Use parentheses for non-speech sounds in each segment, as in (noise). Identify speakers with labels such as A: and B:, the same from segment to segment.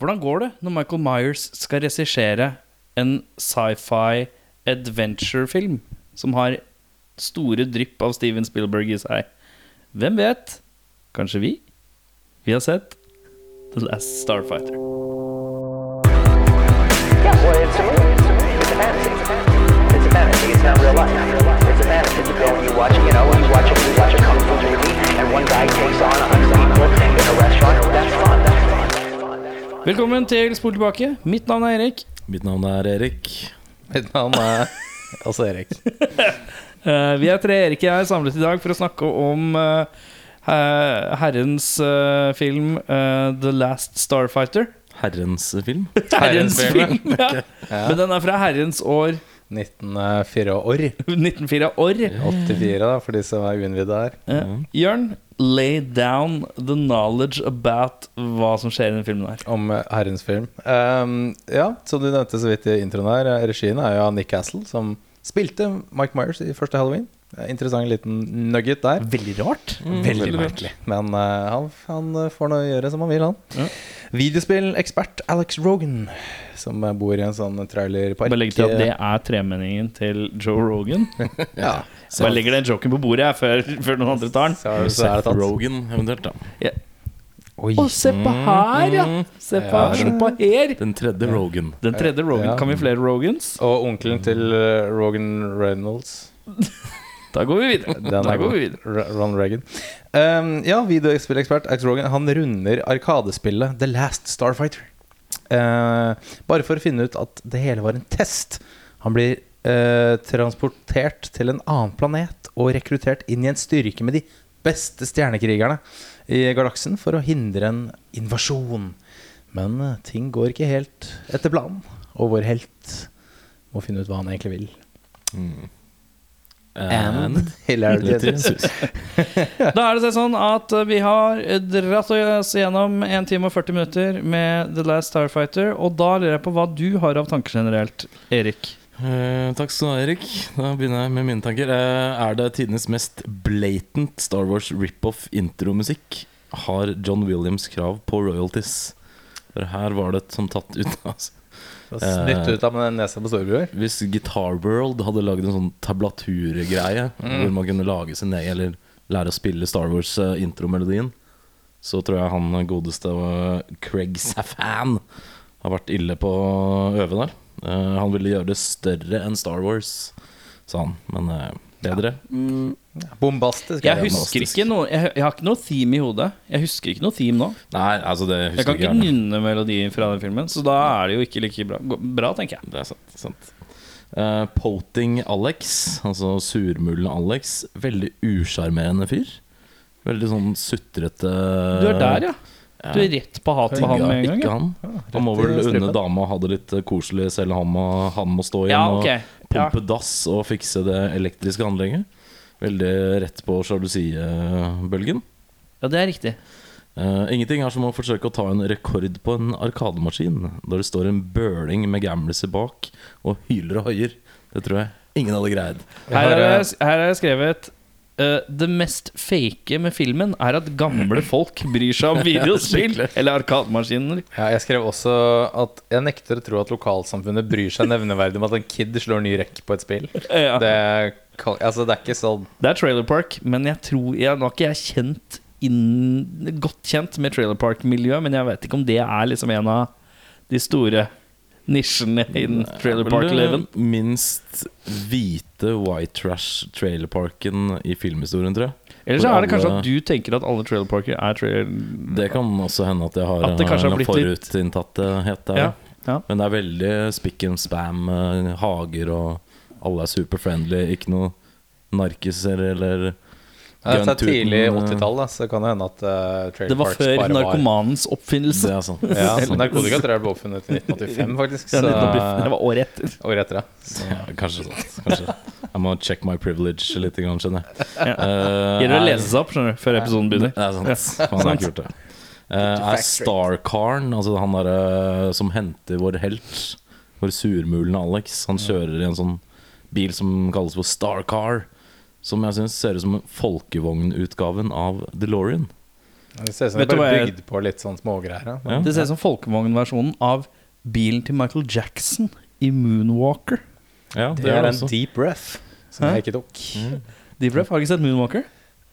A: Hvordan går det når Michael Myers skal regissere en sci-fi adventure-film som har store drypp av Steven Spielberg i seg? Hvem vet? Kanskje vi? Vi har sett The Last Starfighter.
B: Yeah, well, it's a movie. It's a movie. It's a fantasy. It's a fantasy. It's not real life. It's a fantasy. It's a film you watch. You know, you watch a you watch a kung fu movie, and one guy takes on a hundred people in a restaurant. That's fun. That's fun. That's fun. That's fun.
A: Velkommen til Spol tilbake. Mitt navn er Erik.
C: Mitt navn er Erik. Mitt navn er også Erik.
A: Eh, vi er tre Erik og jeg samlet i dag for å snakke om eh, eh, herrens eh, film eh, The Last Starfighter.
C: Herrens film.
A: Herrens
D: Herrens film,
A: film,
D: (laughs)
A: ja. Men den er fra herrens år
D: 1904 år.
A: 1904 år.
D: 84, da, for de som er uinnvidde her.
A: Eh, Jørn, lay down the knowledge about hva som skjer i den filmen her.
D: Om eh, herrens film. Ehm, ja, som du nevnte så vidt i introen her, eh, regien er jo av Nick Castle, som spilte Mike Myers i første Halloween. Eh, Interessant liten nugget der.
A: Veldig rart.
D: Veldig,
A: Mm. veldig
D: merkelig. Men eh, han, han eh, får nå gjøre som han vil, han.
A: Ja.
D: Videospillekspert Alex Rogan, som eh, bor i en sånn trailerpark.
A: Bare legg til at det er tremenningen til Joe
D: (laughs)
A: Rogan.
D: eh, ja.
A: Så jeg legger den joken på bordet jeg, før, før noen andre tar den.
D: Så er det, så er det
C: Seth
D: tatt.
C: Rogan, eventuelt. da
D: Oi.
A: Å, se på her, ja!
D: Mm.
A: Se på, se på her!
C: Den tredje Rogan.
A: Den tredje Rogan.
D: Ja.
A: Kan vi flere Rogans?
D: Og onkelen til eh, Rogan
A: (laughs)
D: Reynolds.
A: Da går vi videre.
D: Den
A: Da
D: er
A: går
D: god.
A: vi videre.
D: Ra- Ron Reagan. Ehm, ja, videospillekspert Alex Rogan Han runder arkadespillet The Last Starfighter. Eh, bare for å finne ut at det hele var en test. Han blir eh, transportert til en annen planet og rekruttert inn i en styrke med de beste stjernekrigerne i galaksen for å hindre en invasjon. Men eh, ting går ikke helt etter planen, og vår helt må finne ut hva han egentlig vil.
C: And
D: hilarity.
C: Jesus.
A: Da er det sånn at vi har eh, dratt oss gjennom 1 time og 40 minutter med The Last Starfighter. Og da lurer jeg på hva du har av tanker generelt, Erik.
C: Eh, takk skal du ha, Erik. Da begynner jeg med mine tanker. Eh, er det tidenes mest blatant Star Wars rip-off intromusikk? Har John Williams krav på royalties? For her var det som tatt ut. Altså.
D: Snytt ut av den nesa på storebror.
C: Hvis Guitar World hadde lagd en sånn tablaturgreie
A: Mm.
C: hvor man kunne lage sin egen eller lære å spille Star Wars-intromelodien, så tror jeg han godeste eh, Craig Safan har vært ille på å øve der. Eh, han ville gjøre det større enn Star Wars, sa han. Men eh, bedre.
D: Bombastisk.
A: Jeg
D: er det.
A: husker ikke noe Jeg, jeg har ikke noe theme i hodet. Jeg husker ikke noe theme nå.
C: Nei, altså, det
A: Jeg kan
C: husker
A: ikke
C: jeg ikke.
A: nynne melodier fra den filmen, så da er det jo ikke like bra, Gå- bra tenker jeg.
C: Det er sant. sant. Eh, Poting Alex, altså surmulen Alex, veldig usjarmerende fyr. Veldig sånn sutrete
A: Du er der, ja. Du er rett på hat på han med en gang.
C: Ikke
A: ja.
C: han. Han må
D: rett i
C: vel unne
D: strupen.
C: dama å ha det litt eh, koselig, selv om han må, han må stå igjen
A: Ja, ok.
C: og
A: Ja.
C: pumpe dass og fikse det elektriske anlegget. Veldig rett på sjalusibølgen.
A: Ja, det er riktig.
C: Eh, ingenting er som å forsøke å ta en rekord på en arkademaskin, da det står en bøling med gamliser bak og hyler og hoier. Det tror jeg ingen hadde greid.
A: Her
D: har,
A: har
D: eh,
A: jeg, her har jeg skrevet eh, det mest fake med filmen er at gamle folk bryr seg om videospill eller arkademaskiner.
D: Ja, jeg skrev også at jeg nekter å tro at lokalsamfunnet bryr seg nevneverdig om at en kid slår ny rekk på et spill.
A: Ja.
D: Det, kan, altså, det er ikke sånn
A: Det er Trailer Park, men jeg tror jeg, Nå er ikke jeg kjent inn, godt kjent med Trailer Park-miljøet, men jeg vet ikke om det er liksom en av de store nisjene innen Trailer Park-leven.
C: Vel, Eh, Minst hvite white trash trailer parken i filmhistorien, tror jeg.
A: Eller så er det
C: Hvor
A: kanskje
C: alle-
A: at du tenker at alle Trailer Parker er trailer...
C: Det kan også hende at jeg har
A: At det kanskje har
C: en
A: blitt litt-
C: forutinntatthet der.
A: Ja, ja.
C: Men det er veldig spick and spam, eh, hager og alle er super friendly. Ikke noe narkiser eller
D: ja, Det er
C: gun-tooting,
D: tidlig
C: eh,
D: 80-tall, da, så det kan jo hende at eh, Trailer
A: Det var
D: Parks
A: før
D: bare
A: narkomanens
C: Det
A: oppfinnelse.
C: er sånn. sant.
D: Var,
A: (laughs)
D: ja, så narkotika tror jeg ble oppfunnet i 1985, faktisk.
A: Det, det
D: Så,
A: var året etter.
D: året etter, ja. Så,
C: (laughs) Ja, kanskje sant. Kanskje. Jeg må check my privilege litt, grann, skjønner jeg.
A: Ja.
C: Eh,
A: Gjelder å
C: er-
A: lese seg opp skjønner du, før episoden begynner.
C: Det er sant. Faen, det er
A: (laughs)
C: kult, det. Eh, er Starkaren, altså han derre som henter vår helt, vår surmulende Alex, han kjører i en sånn bil som kalles for Starcar, som jeg syns ser ut som folkevognutgaven av DeLorean.
D: Det ser ut som
A: Vet
D: det er
A: du
D: bare
A: hva jeg-
D: bygd på litt sånn smågreier. da.
C: Ja.
A: Det ser ut som folkevognversjonen av bilen til Michael Jackson i Moonwalker.
C: Ja,
D: Det,
C: det
D: er
C: gjør det
D: en
C: også.
D: deep breath som
A: Hæ?
D: jeg ikke tok.
A: Deep Breath, har du ikke sett Moonwalker?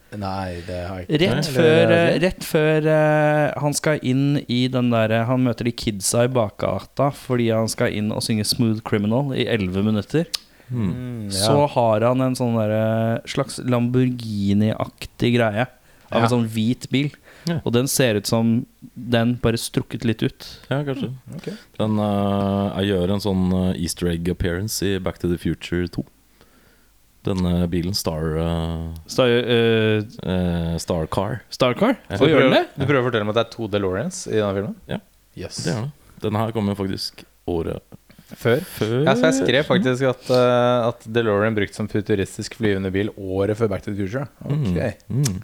D: Nei, det har jeg
A: Rett
D: Eller-
A: før, eh, rett før eh, han skal inn i den derre Han møter de kidsa i bakgata fordi han skal inn og synge Smooth Criminal i 11 minutter.
C: Mm.
D: Mm, ja.
A: Så har han en sånn derre slags Lamborghini-aktig greie av
D: Ja.
A: en sånn hvit bil.
C: Ja.
A: Og den ser ut som den bare strukket litt ut.
C: Ja, kanskje.
A: Mm,
D: ok.
C: Den, eh, jeg gjør en sånn eh, easter egg appearance i Back to the Future 2. Denne bilen, Star, eh,
A: Star, eh,
C: eh, star Car.
A: Star Car?
C: Ja.
A: Hva
D: du,
A: gjør den
D: prøver,
A: det?
D: du prøver å fortelle meg at det er to DeLoreans i denne filmen?
C: Ja.
D: Yes.
C: Det er det. Den her kom jo faktisk året
D: Før?
C: før.
D: Ja, så jeg skrev faktisk at, eh, at DeLorean brukt som futuristisk flyvende bil året før Back to the Future. Ok.
C: Mm. Mm.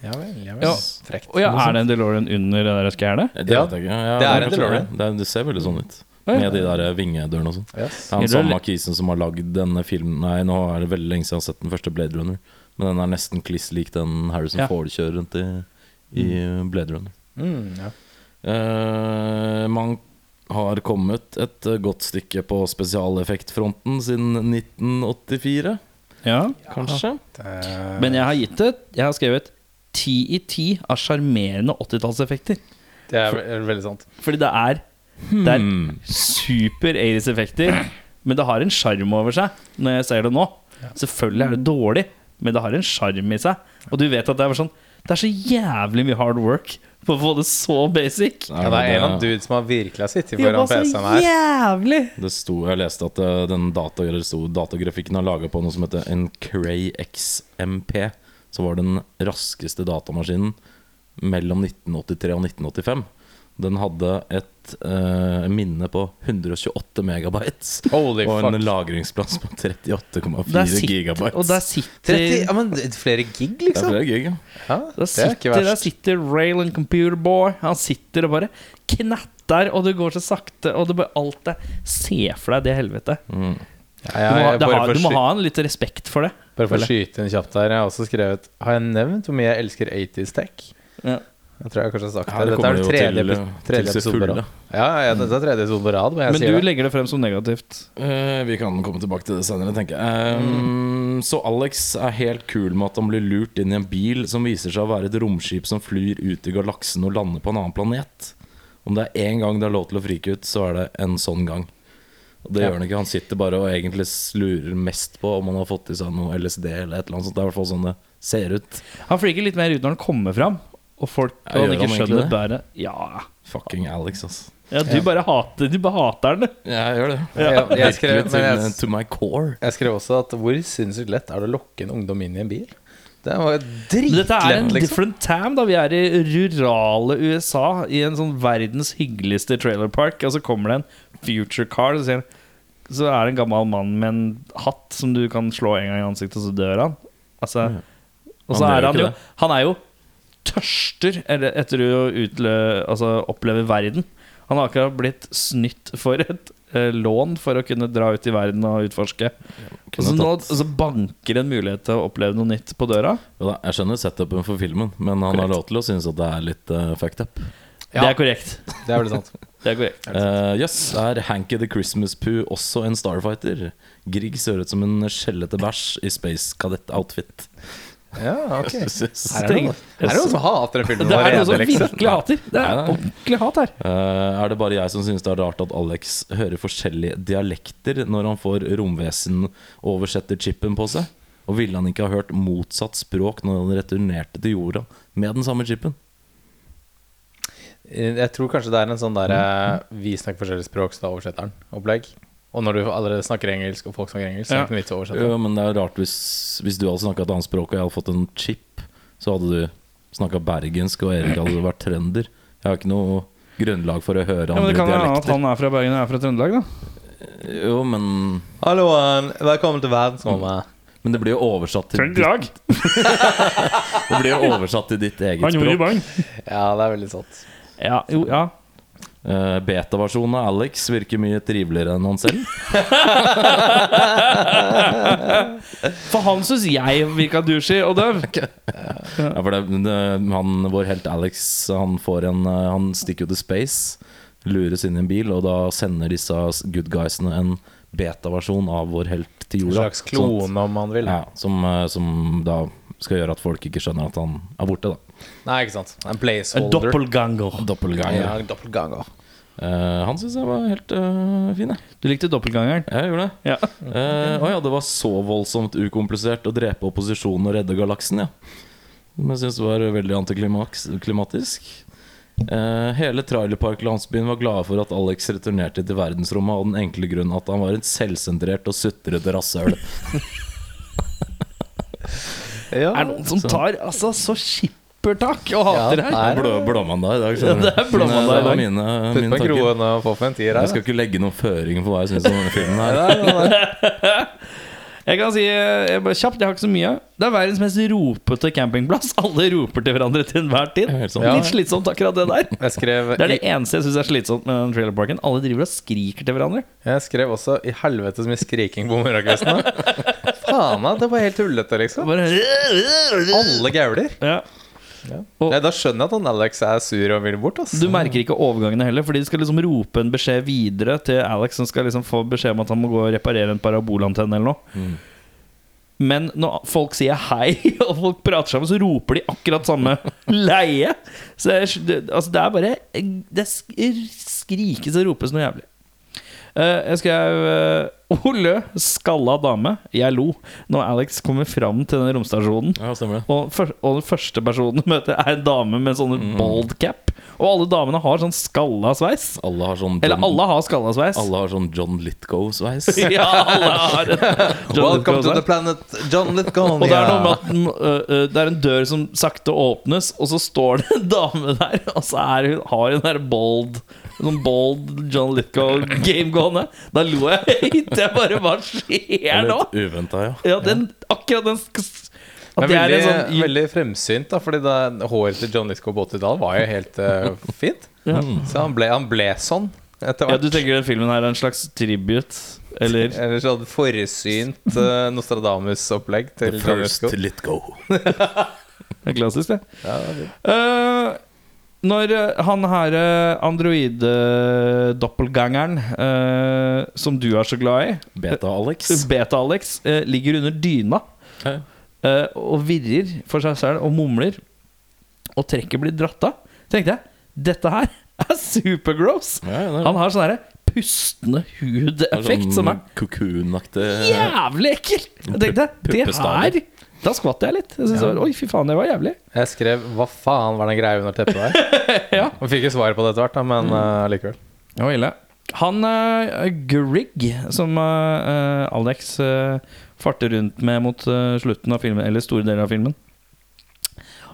D: Ja vel, ja vel.
A: Ja.
D: Frekt.
A: Å ja, er det en DeLorean under det der skjæret?
C: Det
D: Ja,
C: vet jeg ikke. Ja,
D: det
C: kanskje
D: er en DeLorean.
C: Det, er- det ser veldig sånn ut.
A: Ja, ja.
C: Med de der eh, vingedørene og sånn.
D: Yes.
C: Det er
A: Gjør
C: han
A: det
C: samme
A: litt-
C: kisen som har lagd denne filmen Nei, nå er det veldig lenge siden jeg har sett den første Blade Runner. Men den er nesten kliss lik den Harrison
A: Ja.
C: Ford kjører rundt i, i Blade Runner.
D: Mm, ja.
C: Eh, man har kommet et eh, godt stykke på spesialeffektfronten siden 1984,
A: Ja.
C: kanskje.
D: Det-
A: Men jeg har gitt det Jeg har skrevet 10 i 10 av sjarmerende 80-tallseffekter.
D: Det er ve- er veldig sant.
A: Fordi det er Det er super 80s-effekter, men det har en sjarm over seg når jeg ser det nå. Selvfølgelig er det dårlig, men det har en sjarm i seg. Og du vet at det er bare sånn Det er så jævlig mye hard work på å få det så basic.
C: Nei,
D: Ja, det er en
C: men
D: av dudes som har virkelig har sittet
A: Det var
D: foran
A: så
D: PC-en her.
A: jævlig!
C: Det sto, jeg leste at eh, den data, eller det sto, datagrafikken er laga på noe som heter en Cray XMP. Som var den raskeste datamaskinen mellom 1983 og 1985. Den hadde et eh, minne på 128 megabytes.
D: Holy
C: og en
D: fuck.
C: lagringsplass på
A: Der
C: 38,4
A: sitter,
C: gigabytes.
A: og der
D: 30,
A: sitter
D: ja, men det- flere gig,
C: det er
D: liksom?
C: flere gig, ja.
D: Ja,
A: der
D: det er ikke
A: sitter, der
D: verst.
A: sitter Raylan Computer Boy. Han sitter og bare knatter, og det går så sakte, og det bare alt er Se for deg det helvetet.
C: Mm.
A: Du
D: Ja, ja,
A: må, ha-
D: jeg
A: det
D: bare
A: har-
D: får
A: du må
D: sky-
A: ha en litt respekt for det.
D: Bare for å
A: Føler
D: skyte inn kjapt her, jeg har også skrevet Har jeg nevnt hvor mye jeg elsker 80s tech?
A: Ja.
D: Jeg tror jeg kanskje har sagt
C: Ja,
D: det.
C: det
D: Dette er
C: kommer
D: den
C: jo
D: tredje,
C: til-
D: epi- tredje
C: til sitt
D: episoden på
C: fulle.
D: rad. Ja, ja, dette er tredje episoden på rad, men jeg
A: Men du
D: sier det.
A: legger det frem som negativt.
C: Eh, vi kan komme tilbake til det senere, tenker jeg. Ehm, Så Alex er helt kul med at han blir lurt inn i en bil som viser seg å være et romskip som flyr ut i galaksen og lander på en annen planet. Om det er én gang det er lov til å frike ut, så er det en sånn gang. Og det gjør han ikke. Han sitter bare og egentlig lurer mest på om han har fått i seg noe LSD eller et eller annet sånt. Det er i hvert fall sånn det ser ut.
A: Han fliker litt mer ut når han kommer fram, og folk
C: Ja,
A: og han
C: gjør
A: ikke
C: han
A: skjønner
C: egentlig det?
A: bæret. Ja.
C: Fucking Alex, altså.
A: ja, du bare hater Du bare hater den.
C: Jeg gjør det.
D: Ja, jeg, skrev,
C: Virkelig
D: men jeg,
C: til, to my core.
D: jeg skrev også at hvor sinnssykt lett er det å lokke en ungdom inn i en bil? Det var jo
A: Men dette er en
D: dritlett, liksom.
A: different time, da. Vi er i rurale USA, i en sånn verdens hyggeligste trailerpark, og så kommer det en future car, og så, sier han- så er det en gammel mann med en hatt som du kan slå en gang i ansiktet, og så dør han. Altså, og så
C: Han
A: er
C: gjør
A: han
C: jo ikke
A: jo
C: det.
A: Han er jo tørster eller- etter å utlø, altså, oppleve verden. Han har akkurat blitt snytt for et eh, lån for å kunne dra ut i verden og utforske. Og så,
D: Altså,
A: nå,
C: Kunne
A: og så banker en mulighet til å oppleve noe nytt på døra.
C: Jo da, jeg skjønner setupen for filmen, men han har lov til å synes at det er litt eh, fucked up.
D: Ja.
A: Det er korrekt.
D: Det er veldig sant.
A: Det er korrekt.
C: Eh, Jøss, er Hanky the Christmas Poo også en Starfighter? Grieg ser ut som en skjellete bæsj i Space Cadet-outfit.
D: Ja,
C: (laughs)
D: ok Her
C: Her
D: er det noen, her er det noen som hater den filmen.
A: Det er
D: vår
A: noe som
D: ene, liksom.
A: virkelig hater. Det er
C: Nei, nei.
A: ordentlig hat her.
C: Eh, er det bare jeg som synes det er rart at Alex hører forskjellige dialekter når han får romvesen-oversetter-chipen på seg? Og ville han ikke ha hørt motsatt språk når han returnerte til jorda med den samme chipen?
D: Jeg tror kanskje det er en sånn der eh, Vi snakker forskjellige språk, så da oversetter den. Opplegg. Og når du allerede snakker engelsk, og folk snakker engelsk, så er det
A: Ja.
D: ikke noe vits i å oversette.
C: Jo, men det er rart hvis, hvis du hadde snakka et annet språk, og jeg hadde fått en chip, så hadde du snakka bergensk, og Erik hadde vært trønder. Jeg har ikke noe grunnlag for å høre
A: Ja, men
C: andre
A: det kan være at
C: dialekter.
A: han er fra Bergen og er fra Trøndelag, da.
C: Jo, men,
D: Halloen, velkommen til verdensrommet.
C: men det blir jo oversatt til ditt, det blir jo oversatt til ditt eget språk.
A: bang.
D: sånn. Ja, det er veldig sant.
A: Ja, jo, ja.
C: Eh, Beta-versjonen av Alex virker mye triveligere enn han selv.
A: For han syns jeg virka douchey og
C: (laughs)
A: døv.
C: Ja, for det, det, han, vår helt Alex han, får en, eh, han stikker jo til space, lures inn i en bil, og da sender disse good guysene en beta-versjon av vår helt til
D: En
C: jorda.
D: slags klone, om man vil.
C: Sånn at, ja, som, eh, som da skal gjøre at folk ikke skjønner at han er borte. da
D: Nei, ikke sant. En
A: En
D: placeholder.
A: doppelganger.
C: Doppelganger.
D: Ja, en doppelganger.
C: Eh, han syns jeg var helt eh, fin, jeg.
A: Du likte doppelgangeren?
C: Jeg gjorde det.
A: Ja.
C: Eh, Å ja, det var så voldsomt ukomplisert å drepe opposisjonen og redde galaksen, ja. Som jeg syns var veldig antiklimatisk. Eh, hele trailerparklandsbyen var glade for at Alex returnerte til verdensrommet av den enkle grunn at han var en selvsentrert og sutrete rasshøl.
D: Ja.
A: Er det noen som tar altså så skippertak og hater
D: Ja,
A: her?
D: nei.
C: Det er blå- Blåmandag i dag, skjønner du.
A: Ja, det er blåmandag i
C: Men, eh, det var
A: dag.
C: mine, mine
D: Putt på en
C: tanker.
D: krone og få for en tier
C: Jeg
D: her.
C: skal ikke legge noen føringer for hva jeg syns om denne
A: (laughs)
C: filmen. her
A: Jeg kan si eh, jeg bare, kjapt, jeg har ikke så mye. Det er verdens mest ropete campingplass. (laughs) Alle roper til hverandre til enhver tid.
C: Helt sant.
A: Litt slitsomt, akkurat det
C: (laughs)
A: der.
D: Jeg skrev,
A: Det er det eneste jeg syns er slitsomt med den trailerparken. Alle driver og skriker til hverandre.
D: jeg skrev også 'i helvete så mye skriking på morgenkvistene'. (laughs) Faen, da, det var helt tullete, liksom.
A: Bare
D: Alle gauler.
A: ja. Og-
D: Nei, Da skjønner jeg at han Alex er sur og vil bort. Ass.
A: Du merker ikke overgangene heller, fordi de skal liksom rope en beskjed videre til Alex, som skal liksom få beskjed om at han må gå og reparere en parabolantenne eller noe. Men når folk sier hei, (laughs) og folk prater sammen, så roper de akkurat samme leie. Så det er, det- altså det er bare Det sk- skrikes og ropes noe jævlig. Eh, jeg skrev eh, Ole, skalla dame. Jeg lo når Alex kommer fram til den romstasjonen.
C: Ja, stemmer det.
A: Og, fyr- og den første personen du møter, er en dame med sånne
D: Mm.
A: bald cap. Og alle damene har sånn skalla sveis.
C: Alle har sånn
D: Mm.
A: Eller alle har skalla sveis.
C: alle har sånn John Litko-sveis.
A: (laughs) ja, alle
D: (laughs)
A: har
D: Welcome to the
A: John
D: planet, John Litgonia.
A: og det er noe med at den, øh, øh, det er en dør som sakte åpnes, og så står det en dame der, og så er hun, har hun der bold Sånn bold John Litco-game gående. Da lo jeg (laughs) høyt. Jeg bare Hva skjer nå?
C: Litt uventa, ja.
A: Ja, den, akkurat den At
D: Men
A: det er en
D: veldig,
A: sånn
D: veldig fremsynt, da, fordi det, håret til John Litgo på 80-tallet var jo helt eh, fint.
C: Mm.
D: Så han ble, han ble sånn etter
A: Ja,
D: hvert.
A: du tenker den filmen her er en slags tribute? (laughs) Eller
D: Eller så hadde forsynt eh, Nostradamus-opplegg
C: The
D: til John
C: first
D: Litgo.
C: Litko.
A: Det er klassisk, det. Eh, når eh, han her eh, android-doppelgangeren eh, som du er så glad i, (laughs)
C: Beta-Alex.
A: Beta-Alex, eh, ligger under dyna
C: Ja.
A: eh, og virrer for seg selv og mumler, og trekket blir dratt av, tenkte jeg dette her er supergross!
C: Ja, ja, det er sånn det.
A: Han har sånn herre pustende hudeffekt som er
C: Kokoonaktig
A: Eh, jævlig ekkel! Jeg tenkte det
C: Puppestaver.
A: her Da skvatt jeg litt. Jeg synes, det var- Oi, fy faen, det var jævlig.
D: Jeg skrev 'hva faen var den greia under teppet der'?
A: (laughs) Ja. Mm.
D: Og fikk jo svar på det etter hvert, da, men eh, likevel.
A: Det var ille. Han eh, Grigg, som eh, eh, Alex eh, farter rundt med mot eh, slutten av filmen, eller store deler av filmen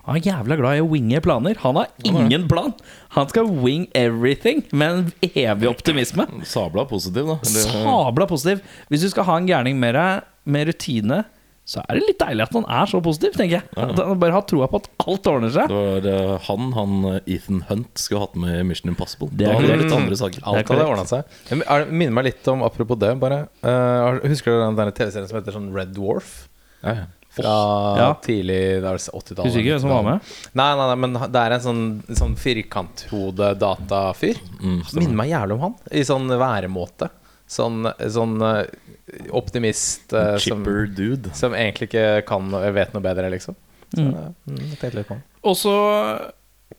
A: Han er jævla glad i å winge planer. Han har ingen plan! Han skal wing everything med en evig optimisme.
C: eh, Sabla positiv, da. Eller- eh,
A: Sabla positiv. Hvis du skal ha en gærning med deg med rutine, så er det litt deilig at han er så positiv, tenker jeg. At han bare har troa på at alt ordner seg.
C: det var eh, han, han eh, Ethan Hunt, skulle hatt med i Mission Impossible.
A: Det er
C: Da hadde det
A: korrekt.
C: vært andre saker.
D: Alt hadde ordna seg. Jeg min- er- minner meg litt om, apropos det, bare eh, har- Husker du den der TV-serien som heter sånn Red Dwarf?
C: Ja, ja.
D: Fra
A: Ja.
D: tidlig det er vel 80-tallet.
A: Husker ikke hvem som var med.
D: Nei, nei, nei, men det er en sånn, sånn firkanthode-datafyr.
A: Mm.
C: Mm.
D: Minner meg jævlig om han, i sånn væremåte. Sånn, sånn eh, optimist eh, som,
C: Chipper dude.
D: som egentlig ikke kan og vet noe bedre, liksom. Så, eh, mm. jeg tenkte litt på han.
A: Og så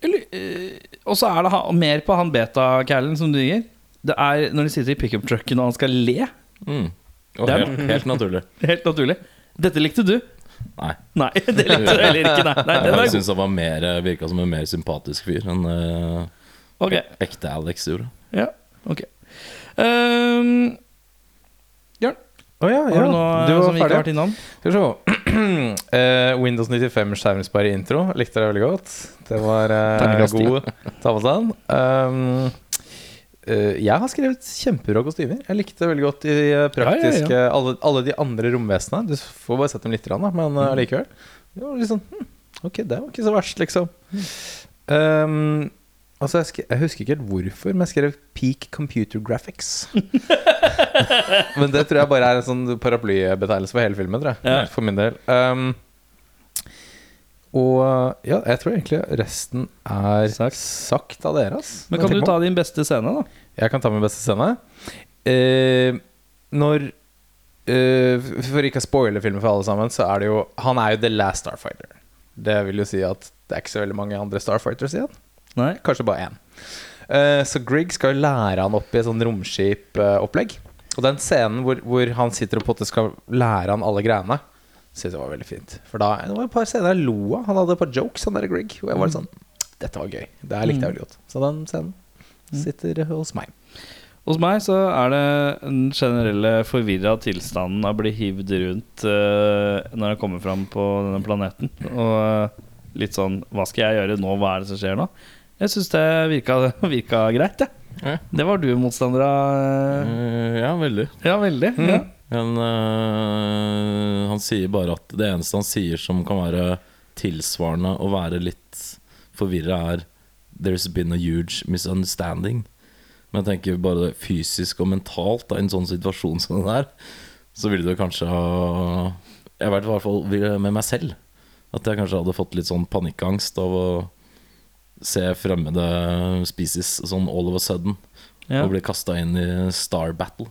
A: eller, eh, Og så er det ha- mer på han beta-callen som du gir. Det er når de sitter i pickup-trucken og han skal le.
C: Mm. Og
A: Det er-
C: helt, helt naturlig.
A: Helt naturlig. Dette likte du.
C: Nei.
A: Nei, (laughs) det likte du heller ikke. Nei, nei den er
C: Jeg
A: god.
C: syns han var mer, eh, virka som en mer sympatisk fyr enn eh,
A: Ok.
C: ekte Alex gjorde.
A: Ja, ok. Ehm, Bjørn,
D: Å ja,
A: har du noe eh, som vi ikke har vært innom?
D: Skal vi se. (clears throat) Eh, Windows 95 skjermspare intro. Likte det veldig godt. Det var eh,
A: Takk, Rastin.
D: god talestand. Um, eh, jeg har skrevet kjempebra kostymer. Jeg likte det veldig godt i eh, praktiske Alle, alle de andre romvesenene. Du får bare sett dem litt, grann, da, men
A: Mm.
D: eh, allikevel. Det var litt sånn, hm, ok, det var ikke så verst, liksom. Um, Altså, jeg, sk jeg husker ikke helt hvorfor, men jeg skrev 'Peak Computer
A: (laughs)
D: Graphics'. men det tror jeg bare er en sånn paraplybetegnelse for hele filmen, tror jeg.
A: Ja.
D: For min del. Um, og ja, jeg tror egentlig resten er
A: Sagt.
D: sagt, av dere, ass.
A: Men kan
D: Tenk
A: du
D: på-
A: ta din beste scene, da?
D: Jeg kan ta min beste scene. Eh, når eh, For ikke å spoile filmen for alle sammen, så er det jo Han er jo the last Starfighter. Det vil jo si at det er ikke så veldig mange andre Starfighters igjen.
A: Nei?
D: Kanskje bare én. Eh, så Grigg skal jo lære han opp i et sånn romskipopplegg. og den scenen hvor, hvor han sitter og på en måte skal lære han alle greiene, synes jeg var veldig fint. For da det var et par scener jeg lo av. Han hadde et par jokes, han der Grigg. Og jeg
A: Mm.
D: var litt sånn Dette var gøy. Det her likte jeg veldig godt. Så den scenen
A: Mm.
D: sitter hos meg.
A: Hos meg så er det den generelle forvirra tilstanden av å bli hivd rundt eh, når jeg kommer fram på denne planeten. Og eh, litt sånn Hva skal jeg gjøre nå? Hva er det som skjer nå? Jeg syns det virka, (laughs) virka greit, jeg.
C: Ja.
A: Det var du motstander av.
C: Eh, ja, veldig.
A: eh, Ja, veldig. Ja.
C: Men eh, han sier bare at det eneste han sier som kan være tilsvarende å være litt forvirra, er There's been a huge misunderstanding. Men jeg tenker bare det fysisk og mentalt da, i en sånn situasjon som den der, så ville det kanskje ha Jeg vet i hvert fall ville- med meg selv at jeg kanskje hadde fått litt sånn panikkangst av å se fremmede species sånn all of a sudden,
A: Ja.
C: og bli kasta inn i Star Battle.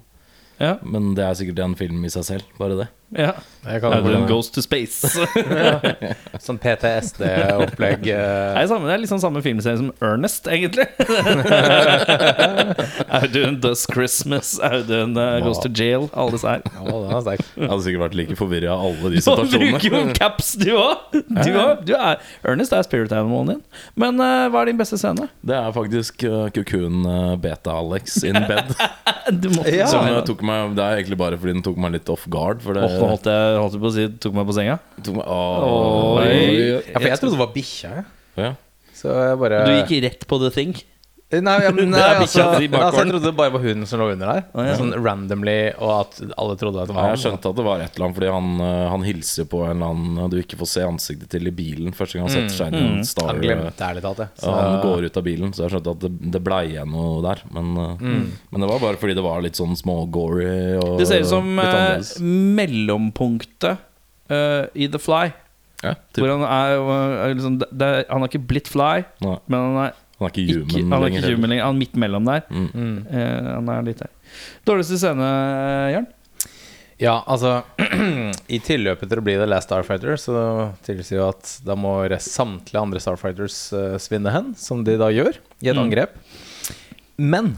A: Ja.
C: Men det er sikkert en film i seg selv, bare det.
A: ja.
D: Jeg
A: Audun goes to space. Det
D: Sånn PTSD-opplegg. eh,
A: er, samme, (laughs) det er liksom samme filmserie som Ernest, (laughs) egentlig. Audun does Christmas, Audun eh, goes to jail, alle disse her.
D: ja, den er sterk.
C: Jeg hadde sikkert vært like forvirra av alle de
A: Du bruker jo
C: situasjonene.
A: caps, du òg! Du òg- du er- Ernest er spirit animalen din. Men eh, hva er din beste scene?
C: Det er faktisk uh, Cocoon eh, Beta-Alex in bed.
A: Du måtte
D: Ja.
C: Som eh,
A: Som-
C: tok meg, det er egentlig bare fordi den tok meg litt off guard. For det
A: Åh, nå holdt jeg holdt jeg på å si tok meg på senga.
C: tok meg,
A: Oi.
C: Oi.
D: Ja, for jeg trodde det var bikkja. jeg.
C: Ja.
D: Så jeg bare
A: Du gikk rett på the thing.
D: Nei, ja, men, nei
A: Det er
D: altså,
A: bikkja i bakgården.
D: altså, jeg trodde det bare var hunden som lå under der.
A: Å, ja.
D: Sånn randomly, og at alle trodde at det
C: Ja,
D: var
C: jeg skjønte at det var et eller annet, fordi han, eh, han hilser jo på en eller annen eh, du ikke får se ansiktet til i bilen første gang han setter seg inn i en
D: Han
C: Star. eh,
D: glemte ærlig talt det.
C: Så han går ut av bilen, så jeg skjønte at det, det blei igjen noe der. Men, eh, men det var bare fordi det var litt sånn smågory og
A: Det ser ut som
C: litt
A: eh,
C: annerledes.
A: mellompunktet eh, i The Fly.
C: Ja, typ.
A: Hvor han er, eh, er liksom, det, det- Han har ikke blitt fly,
C: Nei,
A: men han er
C: han er ikke human
A: ikke, han er
C: lenger.
A: ikke human lenger. Han er midt mellom der.
C: Mm.
A: Eh, han er litt der. Dårligste scene, eh, Jørn?
D: Ja, altså I tilløpet til å bli The Last Starfighter, så tilsier jo at da må rest- samtlige andre Starfighters eh, svinne hen, som de da gjør, i et
A: Mm.
D: angrep. Men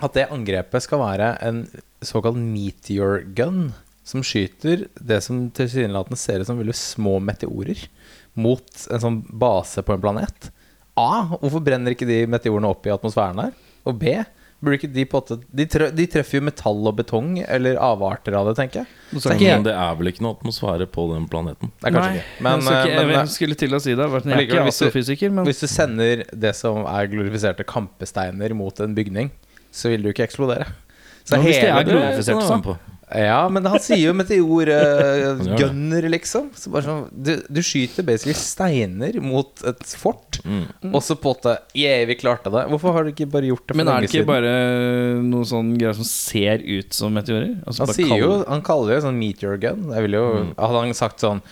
D: at det angrepet skal være en såkalt meteor gun, som skyter det som tilsynelatende ser ut som veldig små meteorer, mot en sånn base på en planet. A. Hvorfor brenner ikke de meteorene opp i atmosfæren her? Og B. Burde ikke de, på en måte- de, trø, de treffer jo metall og betong, eller avarter av det, tenker jeg.
A: Nå sa
D: Så det er
A: jeg-
D: ikke
C: Men det er vel ikke noe atmosfære på den planeten.
D: Det er kanskje
A: Nei,
D: ikke. Men,
A: jeg, skulle ikke
D: eh,
A: jeg,
D: men,
A: skulle til å si det. Jeg er ikke
D: Likevel, hvis du-
A: astrofysiker, men
D: hvis du sender det som er glorifiserte kampesteiner mot en bygning, så vil du ikke eksplodere. Så
A: Men hvis det er
D: hele-
A: glorifisert, Glorifiserte seg.
C: på.
D: Ja, men han
A: (laughs)
D: sier jo
C: Han gjør det.
D: meteorgunner, eh, liksom. Så bare sånn, du, du skyter basically steiner mot et fort, og så på en måte Yeah, vi klarte det. Hvorfor har du ikke bare gjort det for
A: Mm. Men er
D: lenge
A: det ikke
D: siden?
A: bare noe sånn greier som ser ut som meteorer? Altså
D: Han
A: bare
D: sier jo
A: kaller- Mm.
D: Han kaller det jo sånn meteor gun. Jeg ville jo Hadde han sagt sånn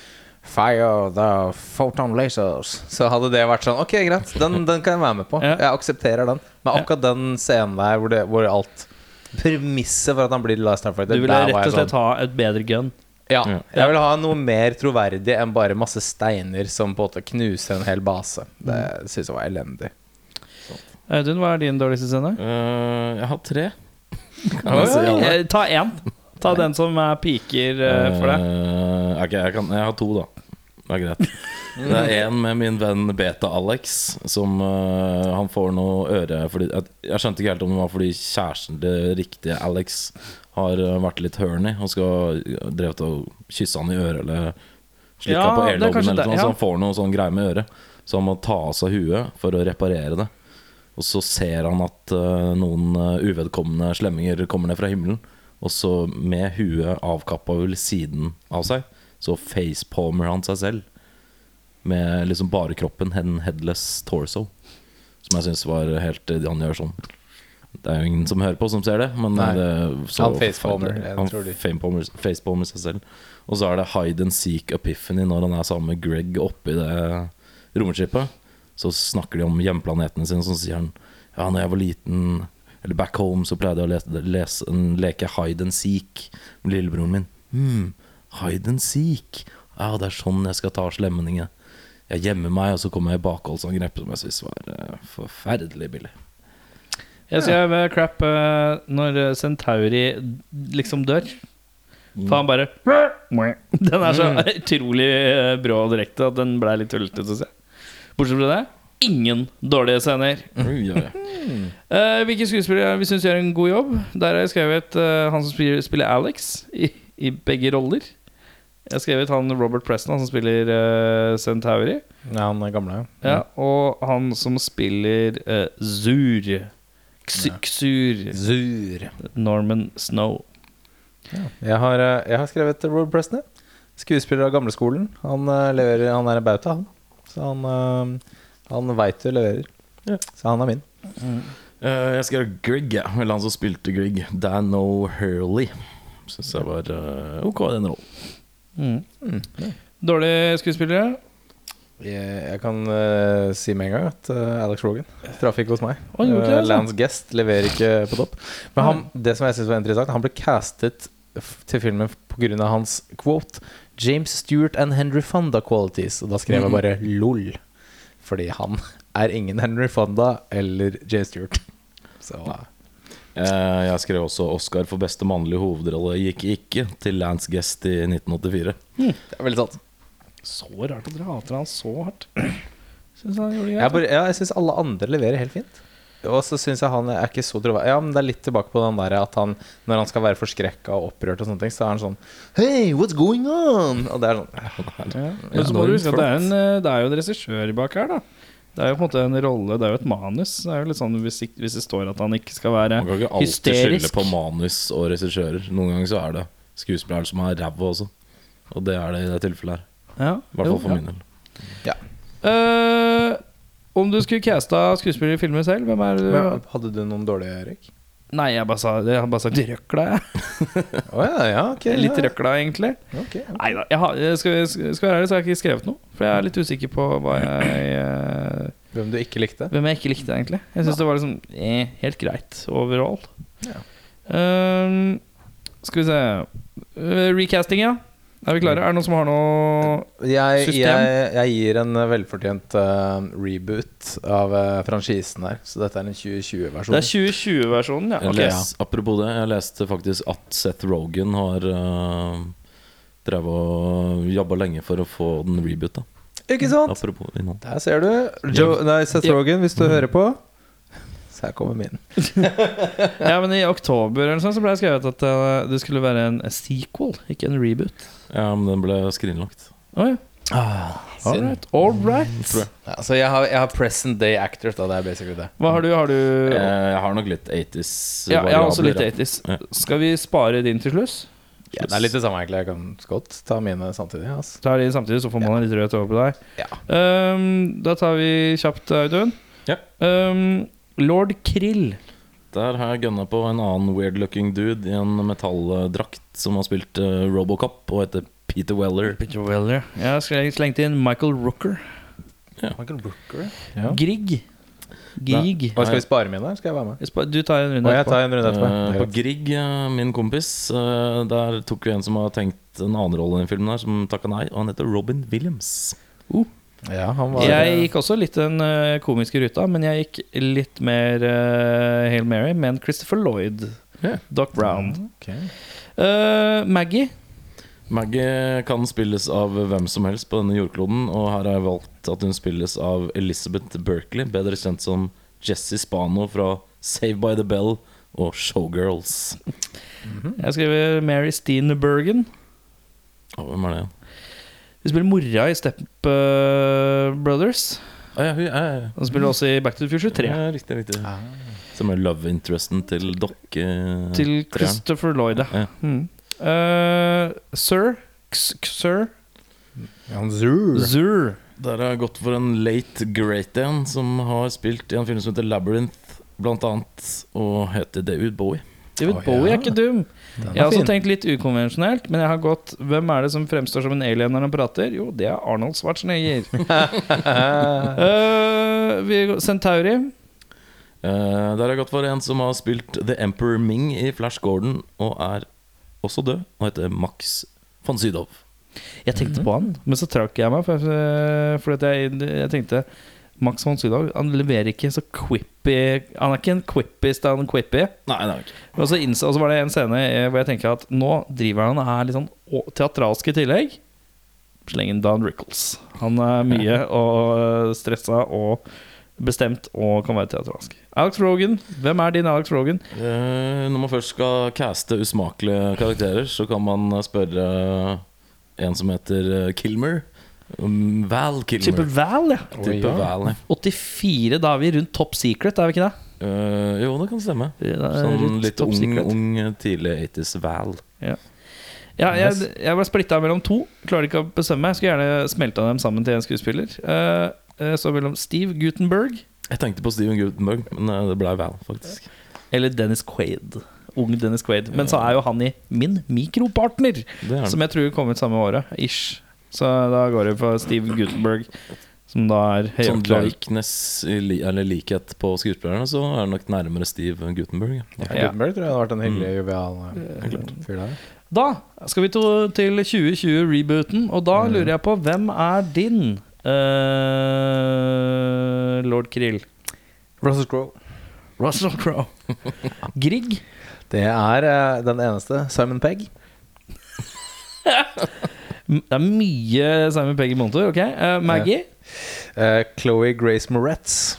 D: Fire the photon lasers Så hadde det vært sånn Ok, greit. Den, den kan jeg være med på.
A: Ja.
D: Jeg aksepterer den. Men
A: Ja.
D: akkurat den scenen der hvor, det, hvor alt Premisset for at han blir Last Starfighter
A: Du ville
D: der var
A: rett og
D: jeg sånn.
A: slett ha et bedre gun.
D: Ja.
C: Ja.
D: Jeg vil ha noe mer troverdig enn bare masse steiner som på en måte knuser en hel base. Det syns jeg var elendig.
A: Audun, hva er din dårligste scene?
C: Eh, jeg har tre.
A: Oi,
C: jeg si alle?
A: eh, Ta én. Ta den som er piker eh, for deg.
C: Eh, ok, jeg, kan, jeg har to, da. Det er greit. Det er en med min venn Beta-Alex, som eh, han får noe øre fordi, jeg, jeg skjønte ikke helt om det var fordi kjæresten til riktige Alex har eh, vært litt horny og skal eh, drevet og kysse han i øret eller slikka
A: Ja,
C: på
A: det er
C: airloben
A: kanskje
C: eller
A: det,
C: noe,
A: ja.
C: så han får noe sånn greie med øret. Så han må ta av seg huet for å reparere det. Og så ser han at eh, noen eh, uvedkommende slemminger kommer ned fra himmelen. Og så med huet avkappa ved siden av seg, så facepalmer han seg selv. Med liksom bare kroppen, hen headless torso. Så Som jeg syns var helt eh, Han gjør sånn. Det er jo ingen som hører på, som ser det. Men eh,
D: Nei.
C: det
D: Han facepalmer, jeg
C: Han
D: tror de-
C: facepalmer facepalmer seg selv. Og så er det hide and seek epiphany når han er sammen med Greg oppi det romskipet. Så snakker de om hjemplanetene sine, så sier han Ja, når jeg var liten, eller back home, så pleide jeg å lese, lese en leke hide and seek med lillebroren min. Hm, hide and seek. Ja, det er sånn jeg skal ta slemningene. Jeg gjemmer meg, og så kommer jeg i bakholdsangrep, som jeg syns var eh, forferdelig billig.
A: Jeg skrev eh, crap eh, når eh, Centauri liksom dør.
D: Mm.
A: For han bare (laughs) Den er så utrolig eh, brå og direkte at den ble litt tullete, syns jeg. Bortsett fra det, ingen dårlige scener.
C: Oi, oi, oi.
A: Eh, hvilke skuespillere vi syns gjør en god jobb? Der har jeg skrevet eh, han som spiller, spiller Alex i, i begge roller. Jeg har skrevet han Robert Preston, han som spiller eh, Centauri.
D: Ja, han er gamle.
A: Ja, og han som spiller eh, Zur. Ksyksur.
D: Zur.
A: Norman Snow.
D: Jeg har, eh, jeg har skrevet Rob Preston. jeg. Skuespiller av gamleskolen. Han, eh, leverer, han er en bauta, han. Så han, eh, han veit du leverer. Så han er min.
C: Eh, jeg skrev Greg, ja. eller han som spilte Greg. Dan O'Hurley. Syns jeg var eh, ok, den rollen.
A: Mm. Dårlige skuespillere.
D: Jeg, jeg kan eh, si med en gang at eh, Alex Rogan traff ikke hos meg.
A: Oi, gjorde ikke det,
D: Eh,
A: altså?
D: Lance Guest leverer ikke på topp. Men han, det som jeg synes var interessant, han ble castet f- til filmen pga. hans quote 'James Stewart and Henry Fonda qualities'. Og da skrev jeg bare 'lol'. Fordi han er ingen Henry Fonda eller James Stewart. Så eh,
C: Eh, jeg skrev også Oscar for beste mannlige hovedrolle gikk ikke til Lance Guest i 1984.
D: det er veldig sant.
A: Så rart at dere hater han så hardt. (clears throat) Syns han gjorde det
D: Jeg,
A: greit.
D: bare, ja, jeg syns alle andre leverer helt fint. Og så syns jeg han er ikke så troverdig. Ja, men det er litt tilbake på den der at han når han skal være forskrekka og opprørt og sånne ting, så er han sånn Hey, what's going on? Og det er sånn
A: Ja. Men så må du huske at det er, en, eh, det er jo en regissør bak her, da. Det er jo på en måte en rolle, det er jo et manus. Det er jo litt sånn Hvis, ikk- hvis det står at han ikke skal være
C: Man kan ikke alltid skylde
A: hysterisk
C: på manus og regissører. Noen ganger så er det skuespillere som er ræva også. Og det er det i det tilfellet her.
A: ja,
C: I hvert
A: jo,
C: fall for
A: ja.
C: min del.
D: Ja.
A: Eh, om du skulle casta skuespiller i filmer selv, hvem er det
D: Men,
A: du
D: hadde du noen dårlige, Erik?
A: Nei, jeg bare sa Jeg har bare sagt røkla, jeg.
D: Å ja, ja, ok.
A: Litt
D: ja.
A: røkla, egentlig.
D: Ok, ja.
A: Nei da. Jeg har, jeg skal, skal jeg være ærlig, så har jeg ikke skrevet noe. For jeg er litt usikker på hva jeg eh,
D: Hvem du ikke likte?
A: Hvem jeg ikke likte, egentlig. Jeg syns det var liksom eh, helt greit overall.
D: Ja.
A: Ehm, skal vi se Eh, Recasting, ja. Er vi klare? Er det noen som har noe
D: Jeg,
A: System?
D: jeg, jeg gir en eh, velfortjent eh, reboot av eh, franchisen her. Så dette er en
A: Det er
D: 2020-versjon.
A: 2020-versjonen, ja.
C: Jeg
A: Ok.
C: les, Apropos det, jeg leste faktisk at Seth Rogan har uh, drevet og jobba lenge for å få den reboota.
D: Ikke sant?
C: Apropos innhold.
D: Der ser du. Joe, nei, Seth
A: Ja.
D: Rogan, hvis du hører på. Så her kommer min.
A: Ja, men I oktober eller sånn, så ble det skrevet at eh, det skulle være en sequel, ikke en reboot.
C: Ja, men den ble skrinlagt.
A: Å ja. All
D: Synd.
A: right. All right.
C: Tror jeg.
D: Ja, så jeg har, jeg har present day actors, da. Det er basically det.
A: Hva har du? Har du
C: Eh, Jeg har nok litt 80s.
A: ja, jeg har også litt
C: variabler,
A: 80s.
C: Ja.
A: Skal vi spare din til sluss?
D: Ja, det er litt det samme, egentlig. Jeg kan godt ta mine samtidig. Altså.
A: Tar de samtidig, så får man litt rødt over på deg. Ehm, da tar vi kjapt Audun.
C: Ja.
A: Ehm, Lord Krill.
C: Der har jeg gønna på en annen weird looking dude i en metalldrakt som har spilt eh, Robocop og heter Peter Weller.
A: Peter Weller. Jeg sl- slengte inn Michael Rooker.
D: Michael Rooker?
A: Grieg. Grieg.
D: Hva, skal vi spare mine? Skal jeg være med?
A: Jeg spa- Du tar en runde
D: Og jeg
A: etterpå.
D: tar en runde etterpå.
C: Eh,
D: Det er
C: på
D: greit.
C: Grieg, eh, min kompis, eh, der tok vi en som har tenkt en annen rolle i den filmen, her som takka nei, og han heter Robin Williams.
D: ja, han var
A: Jeg gikk også litt den eh, komiske ruta, men jeg gikk litt mer uh, Hail Mary med en Christopher Lloyd.
C: Ja.
A: Doc Brown.
D: Ok.
A: Eh, Maggie.
C: Maggie kan spilles av hvem som helst på denne jordkloden, og her har jeg valgt at hun spilles av Elizabeth Berkley, bedre kjent som Jesse Spano fra Save by the Bell og Showgirls.
A: Jeg skriver Mary Steenbergen.
C: Å, hvem er det? igjen?
A: Hun spiller mora i Step eh, Brothers.
C: Å ja, hun ja, ja, ja.
A: Hun spiller også i Back to the Future 3.
C: Mm. Ja, riktig, riktig. Som er love interesten til dokke...
A: Til Christopher Lloyd, ja.
C: Ja.
A: Mm. Eh, sir X- X- Sir
D: Han Zur.
A: Zur
C: Der har jeg gått for en late great en som har spilt i en film som heter Labyrinth, blant annet, og heter David Bowie.
A: David
D: Å,
A: Bowie
D: ja.
A: er ikke dum.
D: Den
A: Jeg har
D: er
A: også
D: fin.
A: tenkt litt ukonvensjonelt, men jeg har gått Hvem er det som fremstår som en alien når han prater? Jo, det er Arnold
D: (laughs)
A: Schwarzenegger. Eh, vi går- Centauri.
C: Eh, der har jeg gått for en som har spilt The Emperor Ming i Flash Gordon, og er også død, og heter Max von Sydow.
A: Jeg
C: Mhm.
A: tenkte på han, men så trakk jeg meg. For, eh, fordi at jeg, jeg tenkte Max von Sydow Han leverer ikke så quippy Han er ikke en quippist, han er en quippy.
C: Nei, det er det ikke.
A: Og så, innså, og så var det en scene eh, hvor jeg tenker at nå driver han og er litt sånn å- teatralsk i tillegg. Slengen Don Rickles. Han er mye og eh, stressa og bestemt og kan være teatralsk. Alex Rogan. Hvem er din Alex Rogan?
C: Eh, når man først skal caste usmakelige karakterer, så kan man eh, spørre en som heter eh, Kilmer. Um, Val
A: Type
C: Kilmer.
A: Val, ja.
C: Type Val, ja.
A: 84, da er vi rundt Top Secret, er vi ikke det?
C: Eh, jo, det kan stemme.
A: Det er
C: Sånn
A: rundt
C: litt
A: Top
C: ung,
A: Secret.
C: ung tidlig 80s Val.
A: Ja,
D: Yes.
A: jeg, jeg var splitta mellom to. Klarer ikke å bestemme meg. Skulle gjerne smelta dem sammen til en skuespiller. Eh, eh, så mellom Steve Gutenberg
C: Jeg tenkte på Steven Gutenberg, men eh, det ble Val, faktisk.
A: eller Dennis Quaid. Ung Dennis Quaid. Men så er jo han i Min mikropartner,
C: Det er
A: som jeg tror kom ut samme året. Ish. Så da går det for Steve Gutenberg, som da er
C: Sånn
A: høyaktuell.
C: likeness, i li- eller likhet på skuespillerne, så er det nok nærmere Steve Gutenberg. Ja.
A: Ja.
D: Ja, Gutenberg tror jeg hadde vært en hyggelig jovial eh, fyr der.
A: Da skal vi to til 2020-rebooten, og da lurer jeg på hvem er din eh, lord Krill?
D: Russell Crowe.
A: Russell Crowe. (laughs) Grieg.
D: Det er eh, den eneste. Simon Pegg.
A: M- Det er mye Simon Pegg i monitor. Ok, Eh, Maggie?
D: Eh, Chloé Grace Moretz.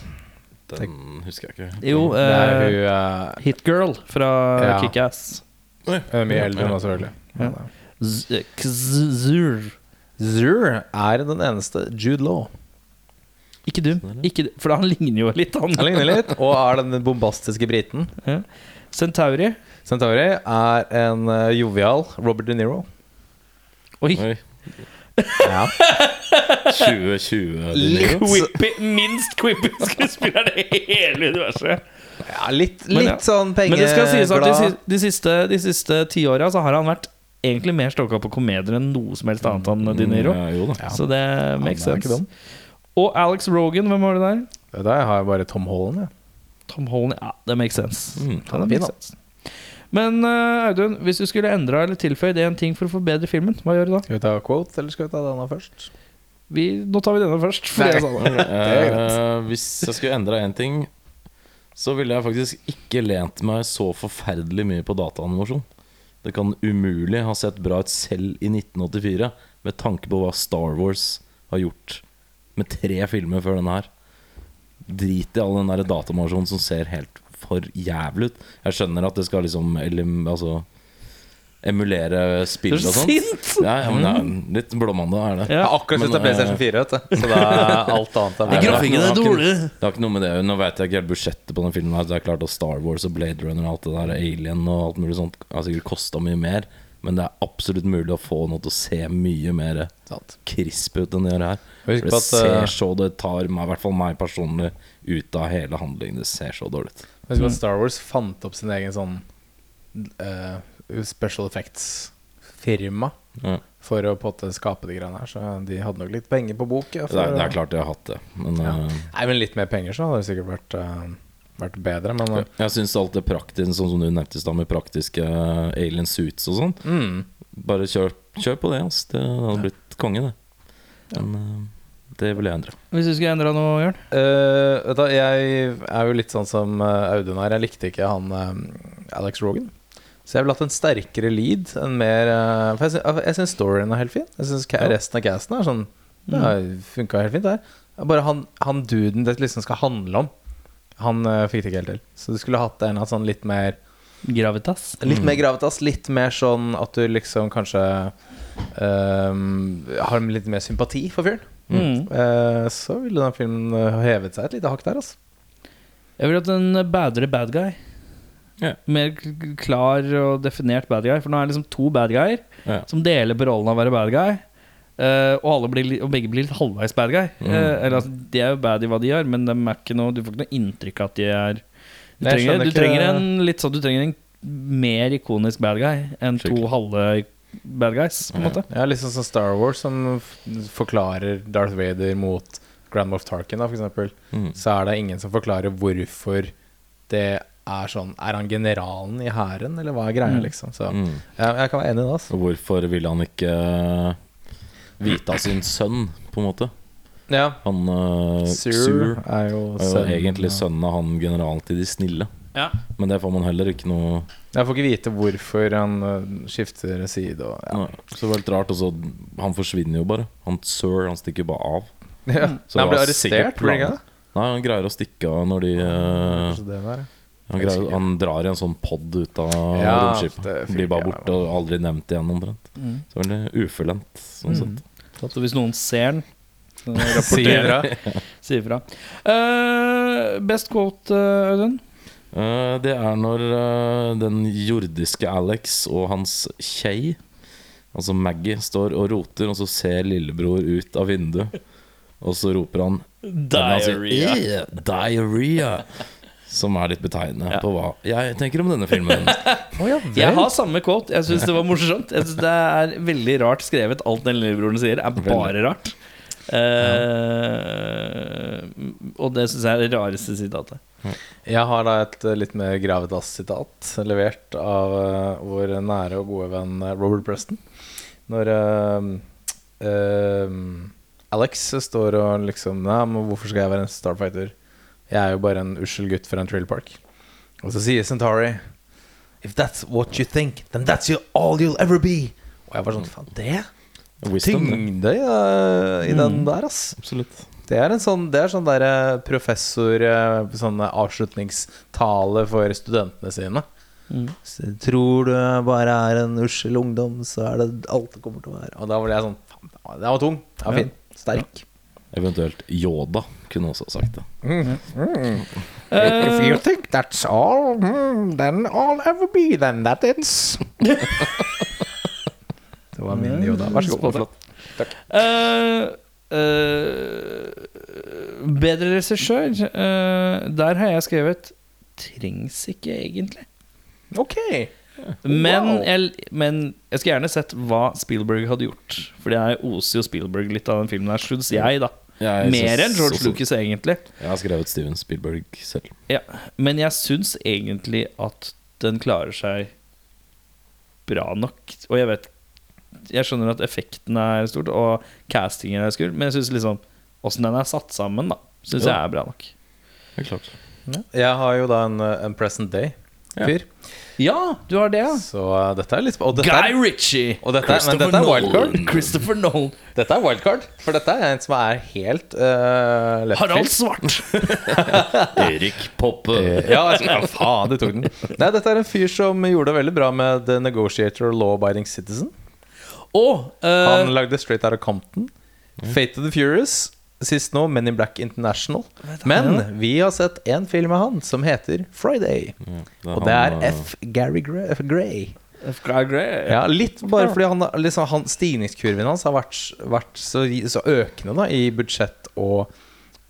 C: Den husker jeg ikke.
A: Jo,
D: Det er
A: eh,
D: hun eh,
A: Hitgirl fra
D: Ja.
A: Kickass.
D: hun er mye eldre nå, selvfølgelig. eh,
A: Ja. Z- Kzur.
D: Zur er den eneste Jude Law.
A: Ikke dum. Ikke, dum, for han ligner jo litt, Sånn han.
D: Han ligner litt, og er den bombastiske briten.
A: Ja. Centauri.
D: Centauri er en eh, jovial Robert De Niro.
A: Oi.
D: (laughs)
C: Oi.
D: Ja.
C: 2020 de Niro.
A: Quippy, minst quippy skuespiller i hele universet.
D: litt
A: Men
D: litt
A: ja.
D: sånn
A: Men det skal sies at de,
D: pengeglad.
A: si- de siste, de siste ti åra så har han vært egentlig mer stokka på komedier enn noe som helst annet enn De Niro.
C: Mm, Ja, jo da.
A: Så det makes
D: Mm, Han er
A: sense.
D: ikke dum.
A: Og Alex Rogan, hvem var det der?
D: Det der har jeg bare Tom Holland, jeg.
A: Tom Holland, ja, det makes sense.
C: Mm,
A: Ja,
D: han er
A: det
D: fin,
A: makes sense. Men eh, Audun, hvis du skulle endra eller tilføyd én ting for å forbedre filmen, hva gjør du da?
D: Skal vi ta quote, eller skal vi ta denne først?
A: Vi, nå tar vi denne først. for
D: Nei.
A: det er
D: (laughs)
A: sånn.
D: er greit.
C: Eh, hvis jeg skulle endra én ting, så ville jeg faktisk ikke lent meg så forferdelig mye på dataanimasjon. Det kan umulig ha sett bra ut selv i 1984, med tanke på hva Star Wars har gjort med tre filmer før denne her. Drit i all den der dataanimasjonen som ser helt for jævlig ut. Jeg skjønner at det skal liksom elim, altså, emulere spill og
A: Du er så
C: sånt.
A: sint!
C: Ja, ja, men det er litt blåmandag er det.
A: Ja.
D: Jeg har akkurat
C: Men,
D: slutta PlayStation 4, vet du. Så da er alt
C: (laughs)
D: annet
C: Nei,
D: er
C: men
D: bra.
A: grafikk. grafikken
C: det
A: er
C: har ikke-
A: dårlig.
C: Det har ikke noe med det Nå vet jeg ikke helt budsjettet på den filmen. her så Det er klart at Star Wars og Blade Runner og alt det der Alien og alt mulig sånt har sikkert kosta mye mer. Men det er absolutt mulig å få noe til å se mye mer
D: Sant.
C: krisp ut enn det gjør her.
D: Husk
C: For det
D: på at, eh,
C: ser så Det tar meg, i hvert fall meg personlig ut av hele handlingen. Det ser så dårlig ut.
D: Husk at Star Wars fant opp sin egen sånn eh, special effects-firma
C: Ja.
D: for å på en måte skape de greiene her. Så de hadde nok litt penger på bok. Ja,
C: Det,
D: for,
C: er, det er klart jeg har hatt det. Men
D: Ja.
C: eh,
D: Nei, men litt mer penger, så hadde det sikkert vært, eh, vært bedre. Men eh,
C: jeg syns alt det praktiske, sånn som du nevnte i stad, med praktiske eh, alien suits og sånn
D: mm,
C: Bare kjør, kjør på det, ass. Det hadde blitt konge, det. Men eh, det vil jeg endre.
A: Hvis du skulle endra noe, Jørn?
D: Eh, vet du, jeg er jo litt sånn som eh, Audun her. Jeg likte ikke han eh, Alex Rogan. Så jeg ville hatt en sterkere lead. En mer, eh, for jeg, sy- jeg syns storyen er helt fin. Jeg synes ca-
C: Ja.
D: Resten av casten er sånn Det funka helt fint, det her. Det er Bare han, han duden det liksom skal handle om, han eh, fikk det ikke helt til. Så du skulle hatt en av sånn litt mer
A: Gravitas.
D: Litt mer gravitas, litt mer sånn at du liksom kanskje ehm, har litt mer sympati for fyren.
A: Mm.
D: Eh, så ville den filmen eh, hevet seg et lite hakk der, altså.
A: Jeg ville hatt en badere bad guy.
C: Ja.
A: Mer k- k- klar og definert bad guy. For nå er det liksom to bad guyer
C: Ja.
A: som deler på rollen av å være bad guy. Eh, og, alle blir, li- og begge blir litt halvveis bad guy. Eh, eller, altså, de er jo bad i hva de gjør, men de er ikke noe, du får ikke noe inntrykk av at de er Du
D: Nei, jeg
A: trenger,
D: skjønner
A: du
D: ikke-
A: trenger en litt sånn Du trenger en mer ikonisk bad guy enn to
C: Skikkelig.
A: halve bad guys, på en måte.
D: Ja, liksom sånn Star Wars som f- forklarer Darth Vader mot Grand Moff Tarkin, da, for eksempel.
C: Mm.
D: Så er det ingen som forklarer hvorfor det er sånn Er han generalen i hæren, eller hva er greia,
A: Mm.
D: liksom? Så
C: Mm.
D: jeg, jeg kan være enig i det, altså.
C: Og hvorfor ville han ikke eh, vite av sin sønn, på en måte?
D: Ja.
C: Han eh,
D: Sur,
C: Sur
D: er
C: er
D: jo
C: jo
D: sønnen
C: egentlig
D: av-
C: sønnen av han generalen til de snille.
A: Ja.
C: Men det får man heller ikke noe
D: Jeg får ikke vite hvorfor han øh, skifter side og ja.
C: Nei, Så det var litt rart. Og så han forsvinner jo bare. Han Sir han stikker bare av.
D: Ja.
C: Så
D: Nei, han
C: det
D: ble
C: var sikkert
D: arrestert, ble han ikke
C: planen.
D: det?
C: Nei, han greier å stikke av når de eh,
D: Kanskje det der, ja.
C: han, greier, han drar i en sånn pod ut av
D: Ja, det
C: romskipet.
D: fikk
C: Blir bare
D: jeg
C: borte og aldri nevnt igjen, omtrent.
A: Mm.
C: Så veldig ufullendt, sånn sett.
A: Så hvis noen ser den, så
D: Sier
A: rapporterer
D: det.
A: (laughs) si ifra. Eh, best quote, eh, Audun?
C: Eh, det er når eh, den jordiske Alex og hans kjei, altså Maggie, står og roter, og så ser lillebror ut av vinduet, og så roper han Men han sier, «Eh, Diarrhea. Som er litt betegnende på hva jeg tenker om denne filmen.
D: Å, ja
A: Jeg
D: vel.
A: har samme quote. Jeg syns det var morsomt. Jeg synes det er veldig rart skrevet. Alt den lillebroren sier, er bare rart. Eh, og det syns jeg er det rareste sitatet.
D: Jeg har da et eh, litt mer Gravitas-sitat levert av eh, vår nære og gode venn eh, Robert Preston. Når eh, eh, Alex står og liksom Nei, men hvorfor skal jeg være en starfighter? Jeg er jo bare en ussel gutt fra en trail park. Og så sier Centauri If that's what you think, then that's your, all you'll ever be. Og jeg var sånn Faen, det?
C: Wisdom, det.
D: Tyngde eh, i den der, ass.
C: Absolutt.
D: Det er en sånn, det er sånn der eh, professor eh, sånn eh, avslutningstale for studentene sine. Så Tror du jeg bare er en ussel ungdom, så er det alt det kommer til å være. Og da ble jeg sånn faen, Den var tung. Den var fin. Sterk.
C: Eventuelt Yoda kunne også sagt det.
A: Eh,
D: think that's all, Hmm, then all ever be, then that is. det var min Yoda. Vær så god. Flott.
A: eh, eh, bedre regissør. eh, der har jeg skrevet 'trengs ikke egentlig'.
D: Ok.
A: Men
D: Wow.
A: jeg, men jeg skulle gjerne sett hva Spielberg hadde gjort. For jeg oser jo Spielberg litt av den filmen her, syns jeg, da.
C: Jeg
A: Mer
C: synes
A: enn George
C: også-
A: Lucas, egentlig.
C: Jeg har skrevet Steven Spielberg selv.
A: Ja, men jeg syns egentlig at den klarer seg bra nok. Og jeg vet Jeg skjønner at effekten er stort, og castingen er skummel, men jeg syns liksom åssen den er satt sammen, da, syns jeg
C: Ja.
A: er bra nok.
C: Det er klart.
D: Jeg har jo da en, eh, en present day-fyr.
A: Ja, du har det, ja.
D: Så eh, dette er litt sp- og dette er-
A: Guy Ritchie!
D: Og dette er, men dette er
C: Christopher
D: wildcard.
C: Nolan.
A: Christopher Nolan.
D: Dette er wildcard, for dette er en som er helt uh,
A: Harald Svart.
C: Erik Poppe.
D: Ja, altså, ja, faen, du tok den. Nei, dette er en fyr som gjorde det veldig bra med The Negotiator og Law Abiding Citizen.
A: Og eh,
D: Han lagde Straight Out of Compton, Fate of the Furious, sist nå Men in Black International. Men vi har sett en film av han som heter Friday. Og det er F. Gary Gray. Gray.
A: Guy Gray.
D: Ja, litt bare fordi han, liksom, han, stigningskurven hans har vært, vært så, så økende da, i budsjett og,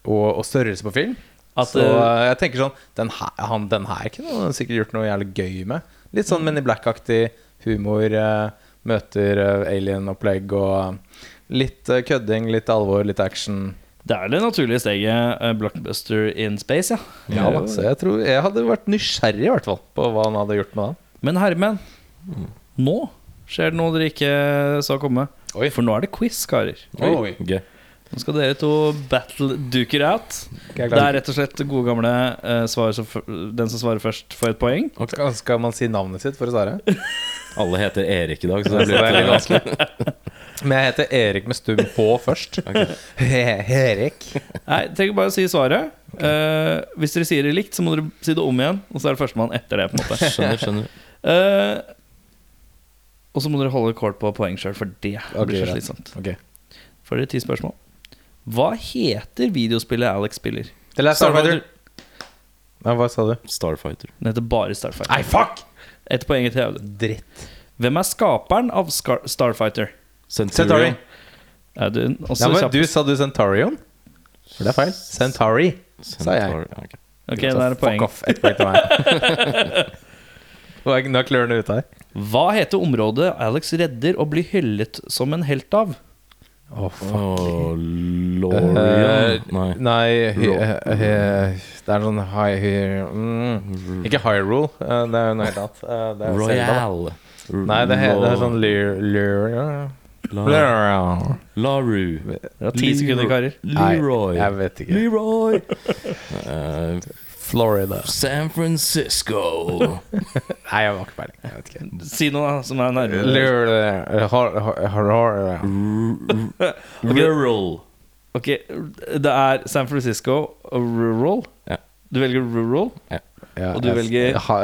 D: og, og størrelse på film.
A: At,
D: så eh, jeg tenker sånn Den her, han, den her kunne han sikkert gjort noe jævlig gøy med. Litt sånn Men i Black-aktig humor. eh, møter eh, alien-opplegg og litt eh, kødding, litt alvor, litt action.
A: Det er det naturlige steget. eh, blockbuster in space, ja.
D: Ja, da, så jeg tror jeg hadde vært nysgjerrig i hvert fall på hva han hadde gjort med den.
A: Men herremenn,
D: Mm.
A: nå skjer det noe dere ikke sa komme.
D: Oi.
A: For nå er det quiz, karer.
C: Oi. Gøy.
A: Nå skal dere to battle duker out.
D: Jeg er
A: Det er
D: glad.
A: rett og slett gode gamle eh, svar som, f- den som svarer først, får et poeng.
D: Skal- Skal man si navnet sitt for å svare?
C: Alle heter Erik i dag, så
D: Så
C: det blir
D: det er litt
C: litt
D: vanskelig. Men jeg heter Erik med stum H først. Erik.
A: Nei, trenger bare å si svaret. Eh, hvis dere sier det likt, så må dere si det om igjen. Og så er det førstemann etter det. på en måte
C: Skjønner, skjønner.
A: Eh, Og så må dere holde kål på poeng sjøl, for det
D: Ok,
A: blir så
D: greit.
A: slitsomt.
D: Ok.
A: Får dere ti spørsmål. Hva heter videospillet Alex spiller?
D: The Last Starfighter. Nei, hva sa du?
C: Starfighter.
A: Den heter bare Starfighter.
D: Nei, fuck!
A: Ett poeng til Audun.
D: Dritt.
A: Hvem er skaperen av Scar Starfighter?
C: Centurion.
D: Centauri.
A: Er du også
D: Ja, men
A: kjapp?
D: du sa du Centarion? For det er feil. Centauri. Sa jeg.
C: Centaur- ja, ok.
A: Ok, det er et poeng.
D: Fuck off. Ett poeng til meg. Nå er- Nå klør det ut her.
A: Hva heter området Alex redder og blir hyllet som en helt av?
D: Å, faen.
C: Åh, Lorian
D: Eh,
C: Nei.
D: Nei hy- eh, eh, Det er sånn high hy- mm. Ikke Hyrule, eh, det er jo noe helt annet. Eh, det er Zelda.
C: Royal.
D: Nei, det, he, det er sånn Lyr... Lyr...
C: La-
D: Lyr-
C: Laru.
A: Det er ti sekunder, karer.
D: Nei,
C: Leroy.
D: Jeg vet ikke.
C: Leroy. Eh,
D: Florida.
C: San
D: (laughs)
C: Francisco.
D: Nei, jeg har ikke peiling. Jeg vet ikke.
A: Si noe da, som er nærmere.
D: Lyr... eh, har- har- har- har-
C: Rural.
A: Ok, Det er San Francisco og rural.
C: Ja.
A: Du velger rural.
D: Ja,
A: Og du
D: jeg-
A: velger-
D: ha-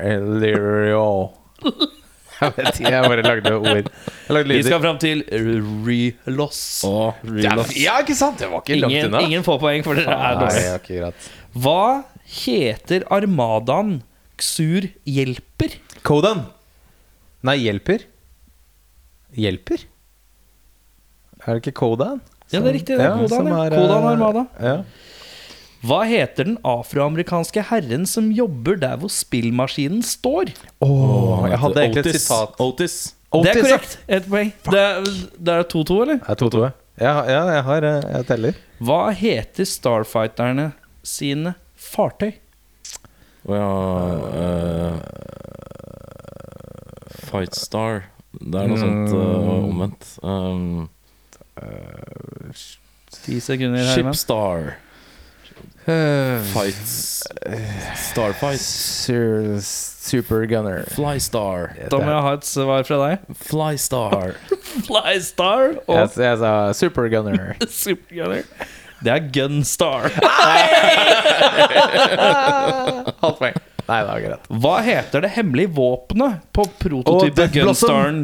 D: eh, Lyrio. (laughs) Jeg vet ikke, jeg bare lagde ord. Jeg lagde
A: Vi
D: lyder.
A: skal fram til reloss.
C: Åh,
A: Reloss.
D: Ja, ikke sant? Det var ikke langt
A: Ingen,
D: unna.
A: ingen får poeng, for dere er
D: Nei,
A: dårlige.
D: ja, ikke greit.
A: Hva heter armadaen Xur hjelper?
D: Kodan. Nei, hjelper. Hjelper? Er det ikke Kodan?
A: Ja, det er riktig. Det er
D: Ja,
A: Kodan,
D: som
A: ja.
D: er, eh,
A: Kodan Armada.
D: Ja.
A: Hva heter den afroamerikanske herren som jobber der hvor spillmaskinen står?
D: Åh, jeg hadde egentlig et
C: Otis.
D: sitat.
C: Otis.
A: det er
D: Otis, ja.
A: korrekt. Ett poeng. Det er- det er 2-2, eller?
D: Det er to toer. Ja, ja, jeg har eh, Jeg teller.
A: Hva heter Starfighterne sine fartøy?
C: Å ja eh, Fight Star. Det er noe sånt eh, omvendt. Um,
A: Ti sekunder, Herman.
C: Shipstar.
D: Eh,
C: Fights Starfight.
D: Sur- Super Gunner.
C: Flystar.
A: Da må jeg ha et svar fra deg.
C: Flystar.
A: Flystar
D: Jeg,
A: og
D: jeg sa Super Gunner.
A: Supergunner. Det er Gunstar.
D: Halvt poeng. (laughs) Nei, det var greit.
A: Hva heter det hemmelige våpenet på
D: Å,
A: prototypen
D: Death Blossom.
A: Gunstaren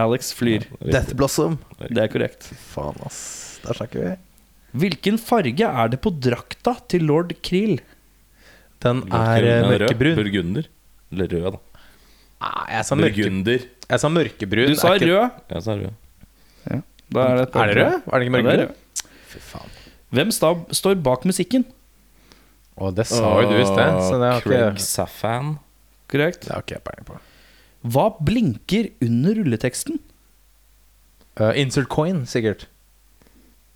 A: Alex flyr?
D: Death Blossom.
A: Det er korrekt.
D: Faen, ass. Der snakker vi.
A: Hvilken farge er det på drakta til lord Krill?
D: Den
C: Rød.
D: (laughs) er eh,
C: Nei, rød.
D: mørkebrun.
C: Burgunder. Eller rød, da.
D: Nei, jeg sa, mørke,
C: Burgunder.
D: jeg sa mørkebrun.
A: Du sa
D: Er ikke-
A: rød.
C: Jeg sa rød.
A: Da er, et
D: Er det rød? Er det ikke
A: Ja, det er
D: mørkebrun?
A: rød.
D: Fy faen.
A: Hvem sta- står bak musikken?
D: Å, det sa jo du i sted, så det har ikke
C: Ah, Craig Safan.
A: Korrekt.
D: Det har ikke jeg peiling på.
A: Hva blinker under rulleteksten?
D: Eh, insert coin, sikkert.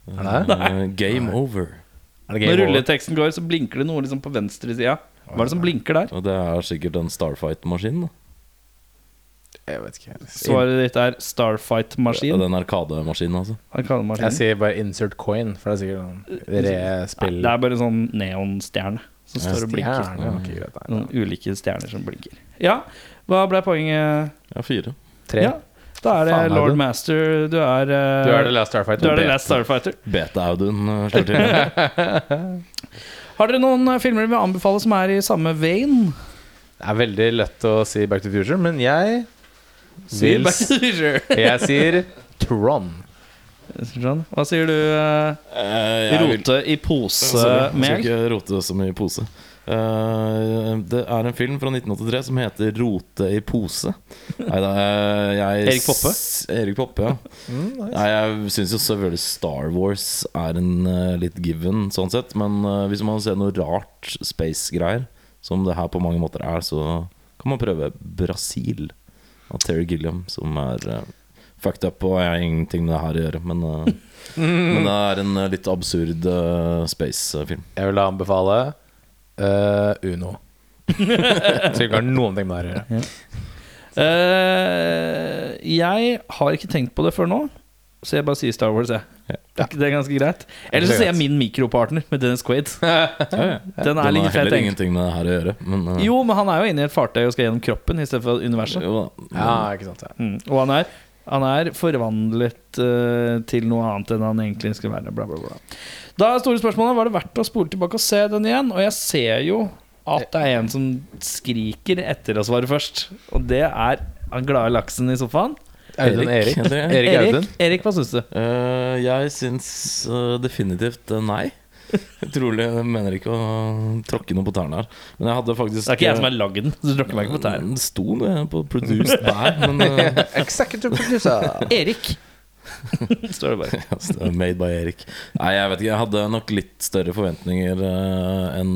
D: Mm. Nei.
C: Eh, game over.
D: Er
A: Når
D: det game over?
A: rulleteksten går, så blinker det noe liksom på venstresida. Hva er det som blinker der?
C: Og det er sikkert den Starfight-maskinen. da.
D: Jeg vet ikke.
A: Svaret ditt er
C: Ja,
A: Starfight-maskin.
C: den arkademaskinen, altså.
D: Jeg
A: Arkademaskinen.
D: sier bare insert coin, for det er sikkert sånn noen
A: Nei,
D: respill...
A: Det er bare en sånn neonstjerne som står og blinker.
D: Stjerne, ok,
C: Mm.
D: greit, nei.
A: Noen ulike stjerner som blinker. Mm. Ja, hva ble poenget?
C: Ja, fire.
D: Tre.
A: Ja, da er det
D: Faen, er
A: Lord
D: du-
A: Master. Du er eh,
D: Du er The Last Starfighter.
A: du er The Last Starfighter.
C: Beta-Audun eh, slår til.
A: Har dere noen eh, filmer dere vil anbefale som er i samme vein?
D: Det er veldig lett å si Back to the Future, men jeg
A: Sier
D: vil-
A: Back to the Future.
D: Jeg sier Tron.
A: Sånn. Hva sier du? eh,
C: Eh, jeg vil-
A: Rote i eh,
C: Sorry, Jeg skal
A: posemel.
C: ikke rote så mye i pose. Eh, det er en film fra 1983 som heter 'Rote i pose'. Nei da eh, jeg
A: Erik Poppe?
C: s- Erik Poppe, ja.
D: Mm,
C: Nei, jeg syns jo selvfølgelig Star Wars er en eh, litt given, sånn sett. Men eh, hvis man ser noe rart space-greier, som det her på mange måter er, så kan man prøve Brasil av Terry Gilliam, som er eh, fucked up, og jeg har ingenting med det her å gjøre, men
A: (laughs)
C: eh, men det er en eh, litt absurd eh, space-film.
D: jeg vil da anbefale eh, Uno.
A: (laughs)
D: Så ikke har noen ting med det her å gjøre.
A: Eh, jeg har ikke tenkt på det før nå, så jeg bare sier Star Wars. Jeg.
C: Ja.
A: Er ikke det ganske greit? Eller så sier jeg min mikropartner med Dennis Quaid. Den
C: Den
A: er
C: har
A: like fet.
C: heller
A: egentlig.
C: ingenting med det her å gjøre. Men, eh,
A: Jo, men han er jo inne i et fartøy og skal gjennom kroppen istedenfor universet.
C: jo da.
D: Ja, ikke sant. Ja.
A: Mm. Og han er, han er forvandlet eh, til noe annet enn han egentlig skal være. Bla, bla, bla. Da er store spørsmålet var det verdt å spole tilbake og se den igjen. Og jeg ser jo at det er en som skriker etter å svare først. Og det er han glade laksen i sofaen.
C: Erik,
D: Audun Erik.
C: heter jeg.
D: Erik Audun.
A: Erik, Erik hva syns du?
C: Eh, jeg syns eh, definitivt eh, nei. Trolig jeg mener ikke å tråkke noe på tærne her. Men jeg hadde faktisk
A: Det er ikke jeg som har lagd den. Så du tråkker meg ikke på tærne. (laughs)
C: Det sto noe på produced eh, der, men eh, (laughs)
D: Executive producer.
A: Erik, (laughs) Står det bare.
C: Altså, det var Made by Erik. Nei, jeg vet ikke. Jeg hadde nok litt større forventninger eh, enn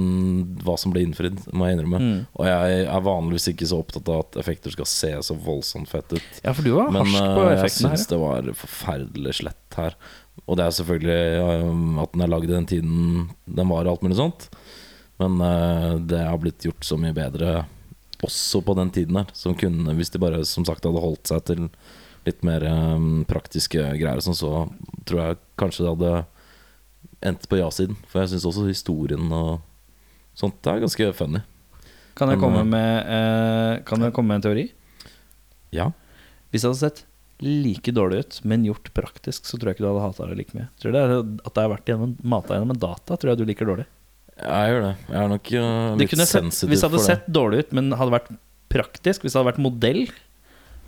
C: hva som ble innfridd, må jeg innrømme.
A: Mm.
C: Og jeg er vanligvis ikke så opptatt av at effekter skal se så voldsomt fett ut.
A: Ja, for du var
C: Men
A: harsk på
C: eh, jeg
A: effektene
C: syns
A: her.
C: det var forferdelig slett her. Og det er selvfølgelig eh, at den er lagd i den tiden den var, og alt mulig sånt. Men eh, det har blitt gjort så mye bedre også på den tiden her. Som kunne, hvis de bare som sagt hadde holdt seg til litt mer eh, praktiske greier, og sånn, så tror jeg kanskje det hadde endt på ja-siden. For jeg syns også historien og sånt er ganske funny.
A: Kan jeg
C: Men,
A: komme
C: eh,
A: med, eh, kan jeg komme med en teori?
C: Ja.
A: Hvis det hadde sett like dårlig ut, men gjort praktisk, så tror jeg ikke du hadde hata det like mye. Tror du det er at det har vært gjennom, mata gjennom en data, tror jeg du liker dårlig.
C: Jeg gjør det. Jeg er nok eh,
A: Det
C: litt
A: kunne sett,
C: sensitiv
A: hvis det hadde
C: for
A: sett dårlig ut, men hadde vært praktisk, hvis det hadde vært modell,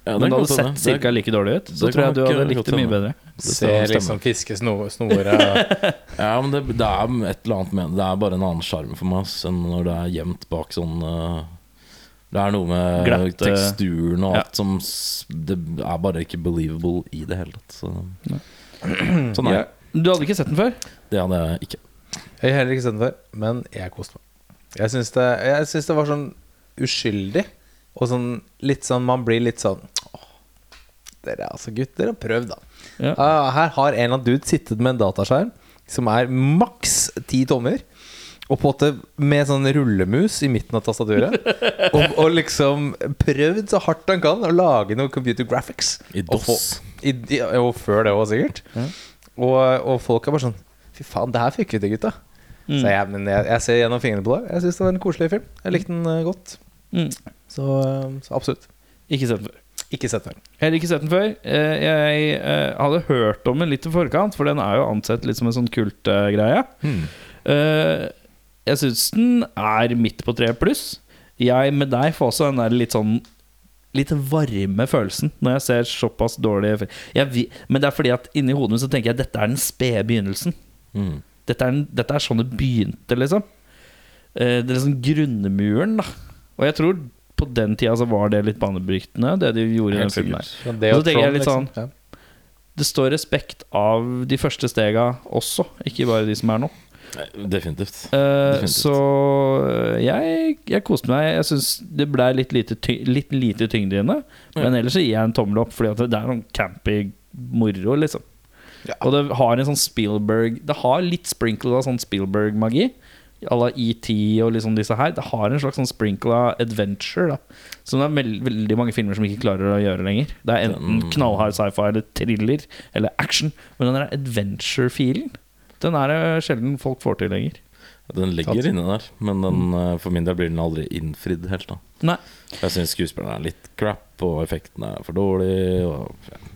C: Ja, det
A: men det
C: kan
A: hadde
C: godt hende.
A: sett
C: Det-
A: ca. like dårlig ut, så
C: det
A: tror
C: kan
A: jeg du
C: nok,
A: hadde
C: eh,
A: likt
C: godt
A: det mye
C: hende.
A: bedere.
C: Det
D: Ser
C: stemmer.
D: liksom fiskesnore
C: Ja, men det, det er et eller annet med Det er bare en annen sjarm for meg ass, enn når det er gjemt bak sånn eh, Det er noe med
A: Glatte-
C: teksturen og
A: eh, Ja.
C: alt som s- Det er bare ikke believable i det hele tatt. Så. (clears throat) Sånn er det.
A: Du hadde ikke sett den før?
C: Det hadde jeg ikke.
D: Jeg har heller ikke sett den før, men jeg koste meg. Jeg syns det, jeg syns det var sånn uskyldig, og sånn litt sånn Man blir litt sånn «Åh, Dere er altså gutter, og prøv, da.
A: Ja.
D: Ah, her har en eller annen dude sittet med en dataskjerm som er maks ti tommer, og på en måte med sånn rullemus i midten av tastaturet, og, og liksom prøvd så hardt han kan å lage noe computer graphics.
C: I
D: Og få-
C: DOS.
D: i, ja, og før det òg, sikkert. Og, og folk er bare sånn Fy faen, det her fikk vi til, gutta.
A: Mm.
D: Så jeg, men jeg, jeg ser gjennom fingrene på det. Jeg syns det var en koselig film. Jeg likte den eh, godt.
A: Mm.
D: Så, eh, så absolutt.
A: Ikke sett den før.
D: Ikke sett den.
A: Heller ikke sett den før. Eh, Jeg eh, hadde hørt om den litt i forkant, for den er jo ansett litt som en sånn kultgreie.
C: Hmm.
A: Eh, Jeg syns den er midt på tre pluss. Jeg med deg får også den der litt sånn Litt varme følelsen når jeg ser såpass dårlig film. Jeg, vi- men det er fordi at inni hodet mitt så tenker jeg at dette er den spede begynnelsen.
C: Mm.
A: Dette er, den- dette er sånn det begynte, liksom. Eh, Det er liksom grunnmuren, da. Og jeg tror på den tida så var det litt banebrytende, det de gjorde i den
C: Helt
A: filmen der.
C: sikkert.
A: Og så tenker jeg litt sånn det står respekt av de første stega også, ikke bare de som er nå.
C: Nei, Definitivt.
A: Eh,
C: Definitivt.
A: så eh, jeg, jeg koste meg. Jeg syns det ble litt lite, ty litt lite tyngde i henne. Men ellers så gir jeg en tommel opp, Fordi at det er noen campy moro, liksom.
D: Ja.
A: Og det har en sånn Spielberg Det har litt sprinkle av sånn Spielberg-magi. À la ET og liksom disse her. Det har en slags sånn sprinkle av adventure. Da. Som det er veld veldig mange filmer som ikke klarer å gjøre lenger. Det er enten
C: Den-
A: knallhard sci-fi eller thriller eller action. Men den der adventure-filen, den er det sjelden folk får til lenger.
C: Den ligger inne der, men den,
A: Mm.
C: eh, for min del blir den aldri innfridd helt. da
A: Nei.
C: Jeg syns skuespillerne er litt crap, og effektene er for dårlige. Og,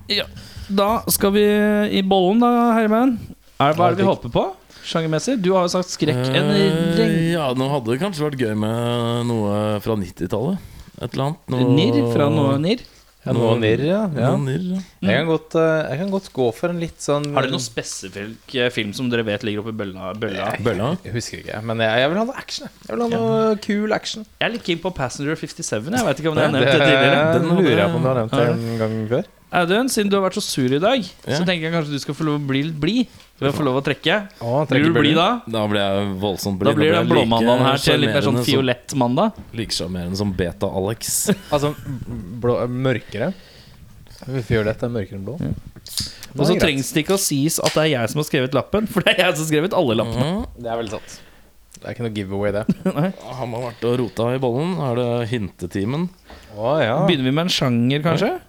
A: Ja. Da skal vi i bollen, da, Herman. Er, hva er det vi
C: Ja,
A: håper på? Sjangermessig? Du har jo sagt skrekk en
C: Eh,
A: reng.
C: Ja, nå hadde det kanskje vært gøy med noe fra 90-tallet. Et eller annet.
A: Nirr fra noe nirr. Mm.
D: Ja, noe nirr, ja. ja.
C: Noe nirr, ja.
D: Jeg, kan godt, eh, jeg kan godt gå for en litt sånn
A: Har dere noen spesifikk eh, film som dere vet ligger oppi bølla? bølla?
C: Bølla.
D: Jeg husker ikke, men jeg, jeg vil ha noe action. jeg. Jeg vil ha noe kul action.
A: Jeg er litt keen på Passenger 57. Jeg vet ikke om jeg har nevnt det tidligere.
D: Den
C: Den
D: lurer jeg
C: hadde-
D: på om du har nevnt
A: Ja.
D: en gang før.
A: Audun, siden du har vært så sur i dag,
C: Ja.
A: så tenker jeg kanskje du skal få lov å bli litt blid. Ved å få lov å trekke.
D: Å, han trekker
A: Blir du blid da?
C: Da ble jeg voldsomt
A: Da
C: blid.
A: blir
C: ble
A: den
C: jeg like
A: blåmandagen her til litt mer sånn
C: sjarmerende
A: fiolett mandag.
C: som- Like sjarmerende som Beta-Alex. (laughs)
D: Altså blå, mørkere. Fiolett er mørkere enn blå.
A: Og så
D: greit.
A: trengs det ikke å sies at det er jeg som har skrevet lappen, (laughs) for det er jeg som har skrevet alle lappene.
D: Det er veldig sant. Det er ikke noe giveaway, det.
C: Han Mhm. har vært og rota i bollen. Er det hintetimen?
D: Å ja.
A: Begynner vi med en sjanger, kanskje?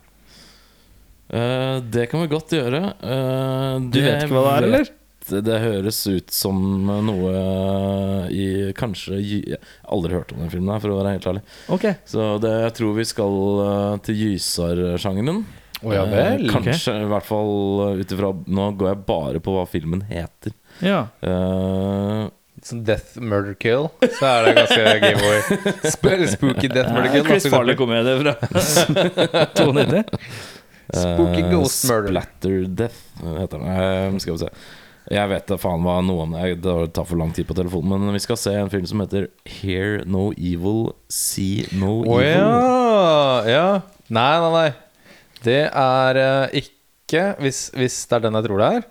C: Eh, det kan vi godt gjøre. Eh,
A: Du vet ikke hva det er, eller?
C: Det, det høres ut som noe i Kanskje gy- Jeg har aldri hørt om den filmen, her, for å være helt ærlig.
A: Ok
C: Så det, jeg tror vi skal eh, til gysersjangeren.
D: Å, ja vel.
C: Eh, Kanskje, i hvert fall eh, ut ifra Nå går jeg bare på hva filmen heter.
A: Ja.
C: Eh,
D: Sånn death murder kill, så er det (laughs) ganske giveaway. Sp- Spooky death murder
A: Eh,
D: kill. da,
A: Chris
D: for eksempel.
A: Farley-komedie fra (laughs) 92.
D: Spooky
C: eh,
D: ghost murder.
C: Splatter Death eh, heter den. Eh, skal vi se. Jeg vet da faen hva noe om det er. Det tar for lang tid på telefonen. Men vi skal se en film som heter Hear No Evil, See No
D: Å
C: Evil.
D: ja. ja. Nei, nei, nei. Det er eh, ikke, hvis, hvis det er den jeg tror det er,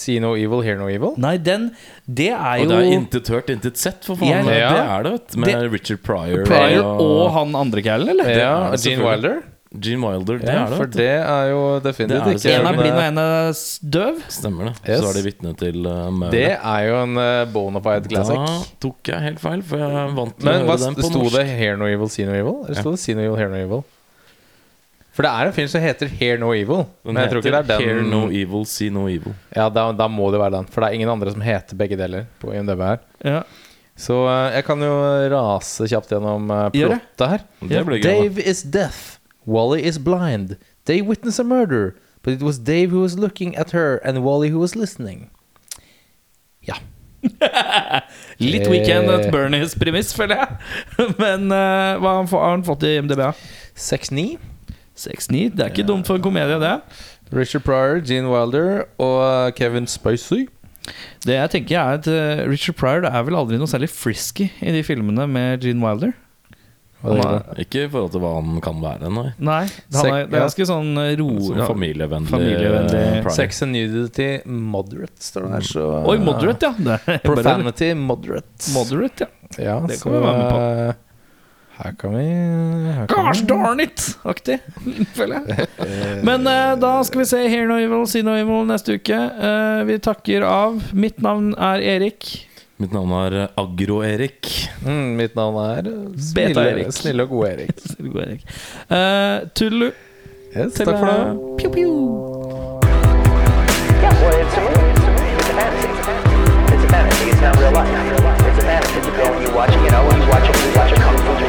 D: See No Evil, Hear No Evil.
A: Nei, den Det er
C: Og
A: jo
C: det er intet hørt, intet sett, for
A: Jeg-
C: faen. det
D: Ja.
C: er det, vet du. Med
A: Det-
C: Richard Pryor,
A: Pryor og han andre kælen, eller?
D: Ja,
C: er det
D: Gene
C: selvfølgelig.
D: Wilder.
C: Gene Wilder. Det
D: Ja,
C: er det.
D: for
C: vet du.
D: det er jo
C: Det er
D: definitivt
C: det
D: ikke
A: En er
C: selvfølgelig.
D: men,
A: blind og
D: eh,
A: en er s- døv.
C: Stemmer det.
D: Yes.
C: Så er de vitne til uh, Maurer.
D: Det er jo en eh, bona fide
C: Da
D: classic.
C: tok jeg helt feil, for jeg vant til
D: Men
C: å
D: hva
C: høre den på
D: sto
C: norsk.
D: det 'Hear No Evil, See No Evil'? Eller sto det 'See No Evil, Hear No Evil'? For det er en film som heter 'Hear No Evil'.
C: Den
D: men jeg tror ikke det er den.
C: Hear No E- Evil, See No Evil.
D: Ja, da, da må det være den. For det er ingen andre som heter begge deler på IMDb her.
A: Ja.
D: Så eh, jeg kan jo rase kjapt gjennom eh,
A: Gjør det.
D: plottet her.
C: Det ble gøy. da.
D: Dave is deaf. Wally is blind. They witness a murder. But it was Dave who was looking at her, and Wally who was listening. Ja.
A: Litt
D: Eh.
A: Weekend at Bernies premiss, føler jeg. (laughs) Men eh, hva har han få- har han fått i MDB?
D: 6-9.
A: 6-9. Det er ikke dumt for en komedie, det.
D: Richard Pryor, Gene Wilder
C: eh,
D: og Kevin Spacey.
A: Det jeg tenker er at eh, Richard Pryor det er vel aldri noe særlig frisky i de filmene med Gene Wilder.
D: Hva er det?
A: Han er-
C: Ikke i forhold til hva han kan være, nei.
A: Nei, han er, det er ganske sånn eh, ro...
C: Sånn familievennlig,
A: Familievennlig.
C: eh, Pryor.
D: Sex and nudity moderate, står det her. Så,
A: Mm. Oi, moderate, ja. Det er bare-
D: Profanity moderate.
A: Moderate, ja.
D: ja,
A: det
D: så,
A: kan vi være med på.
D: eh, Her kan vi her kan
A: Gosh
D: vi-
A: darn it-aktig, (laughs) føler jeg. Men eh, da skal vi se Hear No Evil, See No Evil neste uke. Eh, vi takker av. Mitt navn er Erik. (laughs)
C: Mitt navn er eh, Agro-Erik.
D: Mm, mitt navn er eh,
A: Beta-Erik.
D: snille, snille og gode
A: (laughs)
D: Erik.
A: Det går, Erik. Eh, Tullu.
D: Yes, takk for det.
A: Pew, pew.
B: Yeah, well, it's a movie. It's a movie. It's a fantasy. It's a fantasy. It's not real life. It's a fantasy. You go and you watch, you know, you watch it, you watch it come through